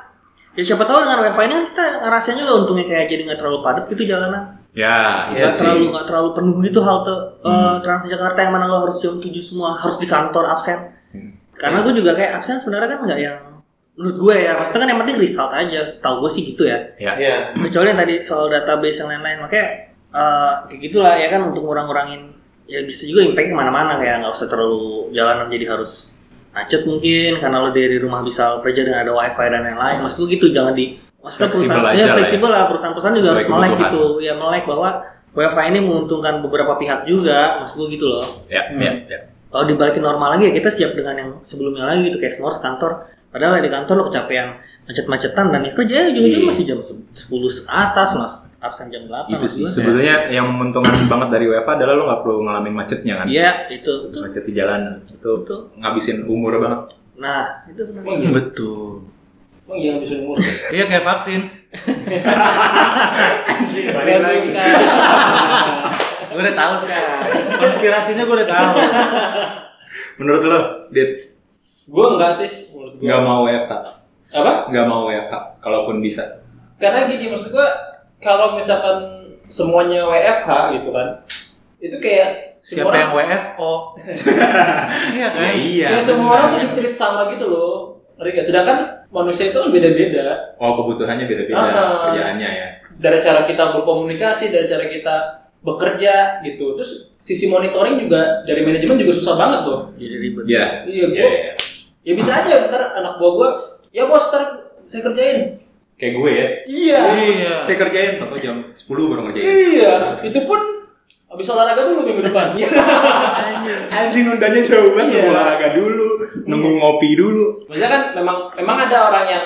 [SPEAKER 4] ya siapa tahu dengan wifi ini kan kita ngerasain juga untungnya kayak jadi nggak terlalu padat gitu jalanan
[SPEAKER 3] Ya,
[SPEAKER 4] nggak
[SPEAKER 3] iya
[SPEAKER 4] terlalu
[SPEAKER 3] sih. Hmm.
[SPEAKER 4] nggak terlalu penuh gitu halte eh, Transjakarta yang mana lo harus jam 7 semua harus di kantor absen
[SPEAKER 3] Hmm.
[SPEAKER 4] karena gue juga kayak absen sebenarnya kan nggak yang menurut gue ya maksudnya kan yang penting result aja setahu gue sih gitu ya
[SPEAKER 5] Iya.
[SPEAKER 4] kecuali yang tadi soal database yang lain-lain makanya eh, kayak gitulah ya kan untuk ngurang-ngurangin ya bisa juga impact kemana-mana kayak nggak usah terlalu jalanan jadi harus macet mungkin karena lo dari rumah bisa kerja dengan ada wifi dan lain-lain maksud gue gitu jangan di maksudnya
[SPEAKER 3] Fleksibel
[SPEAKER 4] perusahaan
[SPEAKER 3] aja
[SPEAKER 4] ya
[SPEAKER 3] lah ya.
[SPEAKER 4] fleksibel lah perusahaan-perusahaan juga
[SPEAKER 3] Sesuai
[SPEAKER 4] harus melek
[SPEAKER 3] kebutuhan.
[SPEAKER 4] gitu ya melek bahwa wifi ini menguntungkan beberapa pihak juga maksud gue gitu loh
[SPEAKER 3] Ya, ya, ya.
[SPEAKER 4] kalau dibalikin normal lagi ya kita siap dengan yang sebelumnya lagi gitu kayak semua harus kantor padahal ya di kantor lo kecapean macet-macetan dan ya kerja ujung-ujung
[SPEAKER 3] Iya.
[SPEAKER 4] masih jam se- 10 atas mas absen jam Iya, 8
[SPEAKER 3] Itu
[SPEAKER 4] maksud
[SPEAKER 3] sih.
[SPEAKER 4] gua.
[SPEAKER 3] Sebenarnya yang menguntungkan banget dari WFH adalah lo nggak perlu ngalamin macetnya kan.
[SPEAKER 4] iya itu itu
[SPEAKER 3] Macet di jalan itu
[SPEAKER 4] Betul.
[SPEAKER 3] ngabisin umur banget.
[SPEAKER 4] nah itu benar.
[SPEAKER 1] Emang iya?
[SPEAKER 5] Betul.
[SPEAKER 1] Emang iya habis umur.
[SPEAKER 5] Iya kayak vaksin.
[SPEAKER 1] Balik lagi.
[SPEAKER 5] Gue udah tahu sekarang. Konspirasinya gue udah tahu.
[SPEAKER 3] Menurut lo, Dit,
[SPEAKER 1] Gue enggak sih. menurut gua.
[SPEAKER 3] nggak mau WFH?
[SPEAKER 1] Apa?
[SPEAKER 3] Nggak mau WFH, kalaupun bisa.
[SPEAKER 1] karena gini maksud gua kalau misalkan semuanya WFH gitu kan itu kayak s- semua
[SPEAKER 5] Siapa
[SPEAKER 1] orang,
[SPEAKER 5] yang WFO? (laughs) Iya kan?
[SPEAKER 3] iya.
[SPEAKER 1] kayak semua orang tuh ditreat sama gitu loh ngerti gak? sedangkan s- manusia itu kan beda-beda
[SPEAKER 3] Oh, kebutuhannya beda-beda
[SPEAKER 1] Ah.
[SPEAKER 3] kerjaannya ya.
[SPEAKER 1] dari cara kita berkomunikasi, dari cara kita bekerja gitu. Terus sisi monitoring juga dari manajemen juga susah banget tuh.
[SPEAKER 4] jadi ribet
[SPEAKER 3] Iya.
[SPEAKER 1] Iya,
[SPEAKER 3] Iya,
[SPEAKER 1] gua,
[SPEAKER 3] iya.
[SPEAKER 1] ya bisa aja ntar anak buah gua, ya bos ntar saya kerjain.
[SPEAKER 3] Kayak gue ya.
[SPEAKER 1] Iya.
[SPEAKER 3] Iya. Saya kerjain atau jam 10 baru ngerjain.
[SPEAKER 1] Iya, itu pun habis olahraga dulu minggu
[SPEAKER 3] (laughs)
[SPEAKER 1] depan.
[SPEAKER 3] Iya.
[SPEAKER 2] Anjing nundanya jauh banget
[SPEAKER 1] Iya.
[SPEAKER 2] olahraga dulu, nunggu ngopi dulu.
[SPEAKER 1] Maksudnya kan memang memang ada orang yang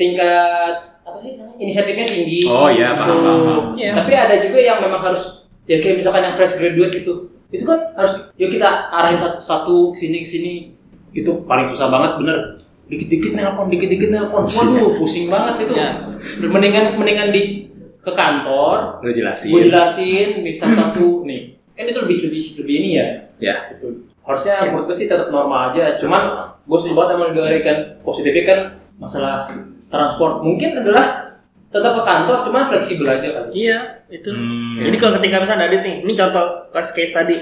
[SPEAKER 1] tingkat apa sih namanya, inisiatifnya tinggi.
[SPEAKER 3] Oh, iya, paham,
[SPEAKER 1] Gitu.
[SPEAKER 3] paham, paham.
[SPEAKER 1] Iya. Tapi ada juga yang memang harus ya kayak misalkan yang fresh graduate gitu. Itu kan harus yuk kita arahin satu satu ke sini ke sini. Itu paling susah banget bener. Dikit-dikit nelpon, dikit-dikit nelpon.
[SPEAKER 3] Iya.
[SPEAKER 1] Waduh, pusing banget itu. Mendingan mendingan di ke kantor,
[SPEAKER 3] Udah jelasin.
[SPEAKER 1] gue jelasin bisa satu nih. Kan itu lebih lebih lebih ini ya.
[SPEAKER 3] Ya.
[SPEAKER 1] Gitu. Harusnya menurut gue sih tetap normal aja. Cuman gue setuju banget sama Dori kan positifnya kan masalah transport mungkin adalah tetap ke kantor cuman fleksibel aja kan.
[SPEAKER 4] iya itu
[SPEAKER 3] Hmm.
[SPEAKER 4] jadi kalau ketika misalnya Dadit nih ini contoh case case tadi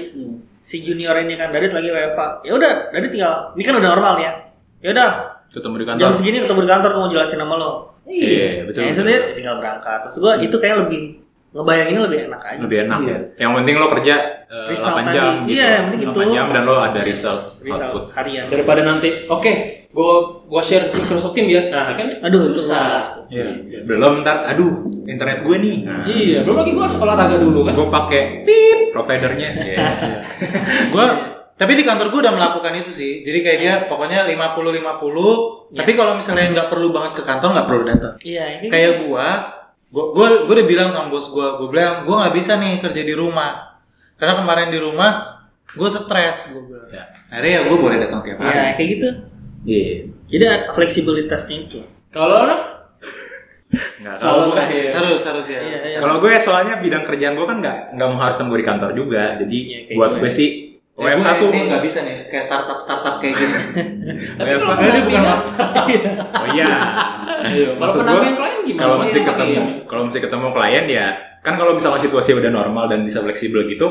[SPEAKER 4] si junior ini kan Dadit lagi WFA ya udah Dadit tinggal ini kan udah normal ya ya udah
[SPEAKER 3] ketemu di kantor.
[SPEAKER 4] jam segini ketemu di kantor gue mau jelasin sama lo
[SPEAKER 3] Iya, betul. Hmm.
[SPEAKER 4] ya maksudnya tinggal berangkat maksud gue itu kayak lebih ngebayanginnya lebih enak aja
[SPEAKER 3] lebih enak.
[SPEAKER 1] Iya.
[SPEAKER 3] Yang penting lo kerja eh,
[SPEAKER 4] Result
[SPEAKER 3] 8
[SPEAKER 4] tadi.
[SPEAKER 3] jam
[SPEAKER 4] Iya, yang penting gitu.
[SPEAKER 3] 8 jam dan lo ada result,
[SPEAKER 4] Result
[SPEAKER 3] output.
[SPEAKER 4] harian
[SPEAKER 1] Daripada nanti oke gue gue share Microsoft Team ya. Nah kan
[SPEAKER 4] aduh itu
[SPEAKER 1] susah.
[SPEAKER 4] malas.
[SPEAKER 3] Iya.
[SPEAKER 2] Belum ntar, aduh, internet gue nih.
[SPEAKER 3] Nah,
[SPEAKER 1] Iya, belum lagi gue harus olahraga dulu kan.
[SPEAKER 3] gue pakai pip providernya. Iya.
[SPEAKER 5] Gua tapi di kantor gua udah melakukan itu sih. Jadi kayak dia pokoknya 50 50. Tapi kalau misalnya nggak perlu banget ke kantor nggak perlu datang.
[SPEAKER 4] iya ini
[SPEAKER 5] Kayak gua, gua gua gua udah bilang sama bos gua, gua bilang gua nggak bisa nih kerja di rumah. Karena kemarin di rumah gua stres gua bilang.
[SPEAKER 3] Ya.
[SPEAKER 5] Akhirnya ya gua boleh datang tiap hari.
[SPEAKER 4] ya kayak gitu
[SPEAKER 3] Iya.
[SPEAKER 4] jadi ada fleksibilitasnya itu
[SPEAKER 1] Kalau lo
[SPEAKER 3] Nggak tahu.
[SPEAKER 1] soal
[SPEAKER 5] Bukan,
[SPEAKER 1] terakhir.
[SPEAKER 5] harus harus ya. harus.
[SPEAKER 3] Kalau gue soalnya bidang kerjaan gue kan nggak nggak mengharuskan gue di kantor juga. Jadi
[SPEAKER 4] Iya, kayak
[SPEAKER 3] buat
[SPEAKER 4] gitu.
[SPEAKER 3] gue sih
[SPEAKER 5] Eh, gua
[SPEAKER 3] WFH tuh
[SPEAKER 5] ini nggak bisa nih kayak startup startup kayak gini.
[SPEAKER 1] Tapi kalau
[SPEAKER 5] Padahal dia bukan
[SPEAKER 1] penampilan-
[SPEAKER 5] master.
[SPEAKER 3] Oh iya.
[SPEAKER 1] Iya, kalau
[SPEAKER 3] Maksud
[SPEAKER 1] penampilan
[SPEAKER 3] gua,
[SPEAKER 1] klien gimana?
[SPEAKER 3] Kalau
[SPEAKER 1] Iya,
[SPEAKER 3] mesti
[SPEAKER 1] pakai
[SPEAKER 3] ketemu
[SPEAKER 1] yang-
[SPEAKER 3] kalau mesti ketemu klien ya kan kalau misalnya situasi udah normal dan bisa fleksibel gitu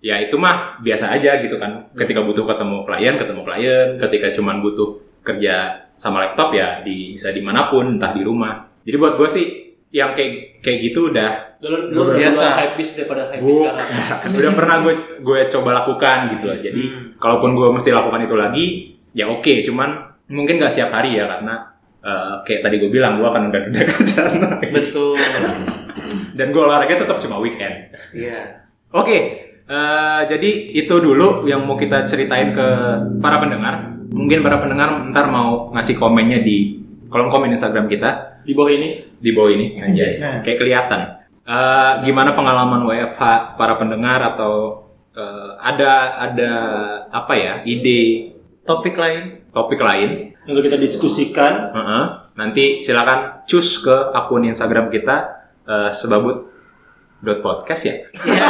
[SPEAKER 3] ya itu mah biasa aja gitu kan. Ketika butuh ketemu klien ketemu klien. Ketika cuman butuh kerja sama laptop ya di bisa dimanapun entah di rumah. Jadi buat gue sih yang kayak kayak gitu udah
[SPEAKER 1] Dulu dulu
[SPEAKER 5] Biasa.
[SPEAKER 1] biasa hype beast daripada hype beast
[SPEAKER 3] Bukan.
[SPEAKER 1] sekarang.
[SPEAKER 3] (laughs)
[SPEAKER 1] Hmm.
[SPEAKER 3] udah pernah gue gue coba lakukan gitu loh. Jadi kalaupun gue mesti lakukan itu lagi, ya oke. Cuman mungkin gak setiap hari ya karena eh, kayak tadi gue bilang gue akan udah (laughs) udah kerjaan lagi.
[SPEAKER 5] (laughs) Betul.
[SPEAKER 3] Dan gue olahraga tetap cuma weekend.
[SPEAKER 5] Iya.
[SPEAKER 3] Oke. eh, jadi itu dulu yang mau kita ceritain ke para pendengar. Mungkin para pendengar ntar mau ngasih komennya di kolom komen Instagram kita
[SPEAKER 1] Di bawah ini
[SPEAKER 3] di bawah ini. Anjay.
[SPEAKER 5] Nah.
[SPEAKER 3] Kayak kelihatan. Eh, gimana pengalaman WFH para pendengar atau eh, ada ada apa ya ide
[SPEAKER 5] Topik lain.
[SPEAKER 3] topik lain?
[SPEAKER 1] untuk kita diskusikan
[SPEAKER 3] Heeh. Nanti silakan cus ke akun Instagram kita eh, sebabut dot podcast ya
[SPEAKER 5] Iya.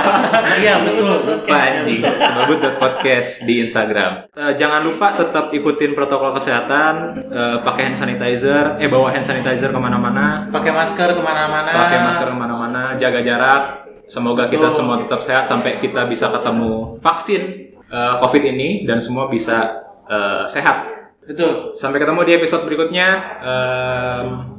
[SPEAKER 5] Iya betul.
[SPEAKER 3] Panji sebabut dot podcast di Instagram. Eh, jangan lupa tetap ikutin protokol kesehatan, eh, pakai hand sanitizer, eh bawa hand sanitizer kemana-mana,
[SPEAKER 5] Pakai masker kemana-mana.
[SPEAKER 3] pakai masker kemana-mana, jaga jarak. Semoga kita semua tetap sehat sampai kita bisa ketemu vaksin eh, COVID ini dan semua bisa eh, sehat.
[SPEAKER 5] Betul.
[SPEAKER 3] Sampai ketemu di episode berikutnya. Em,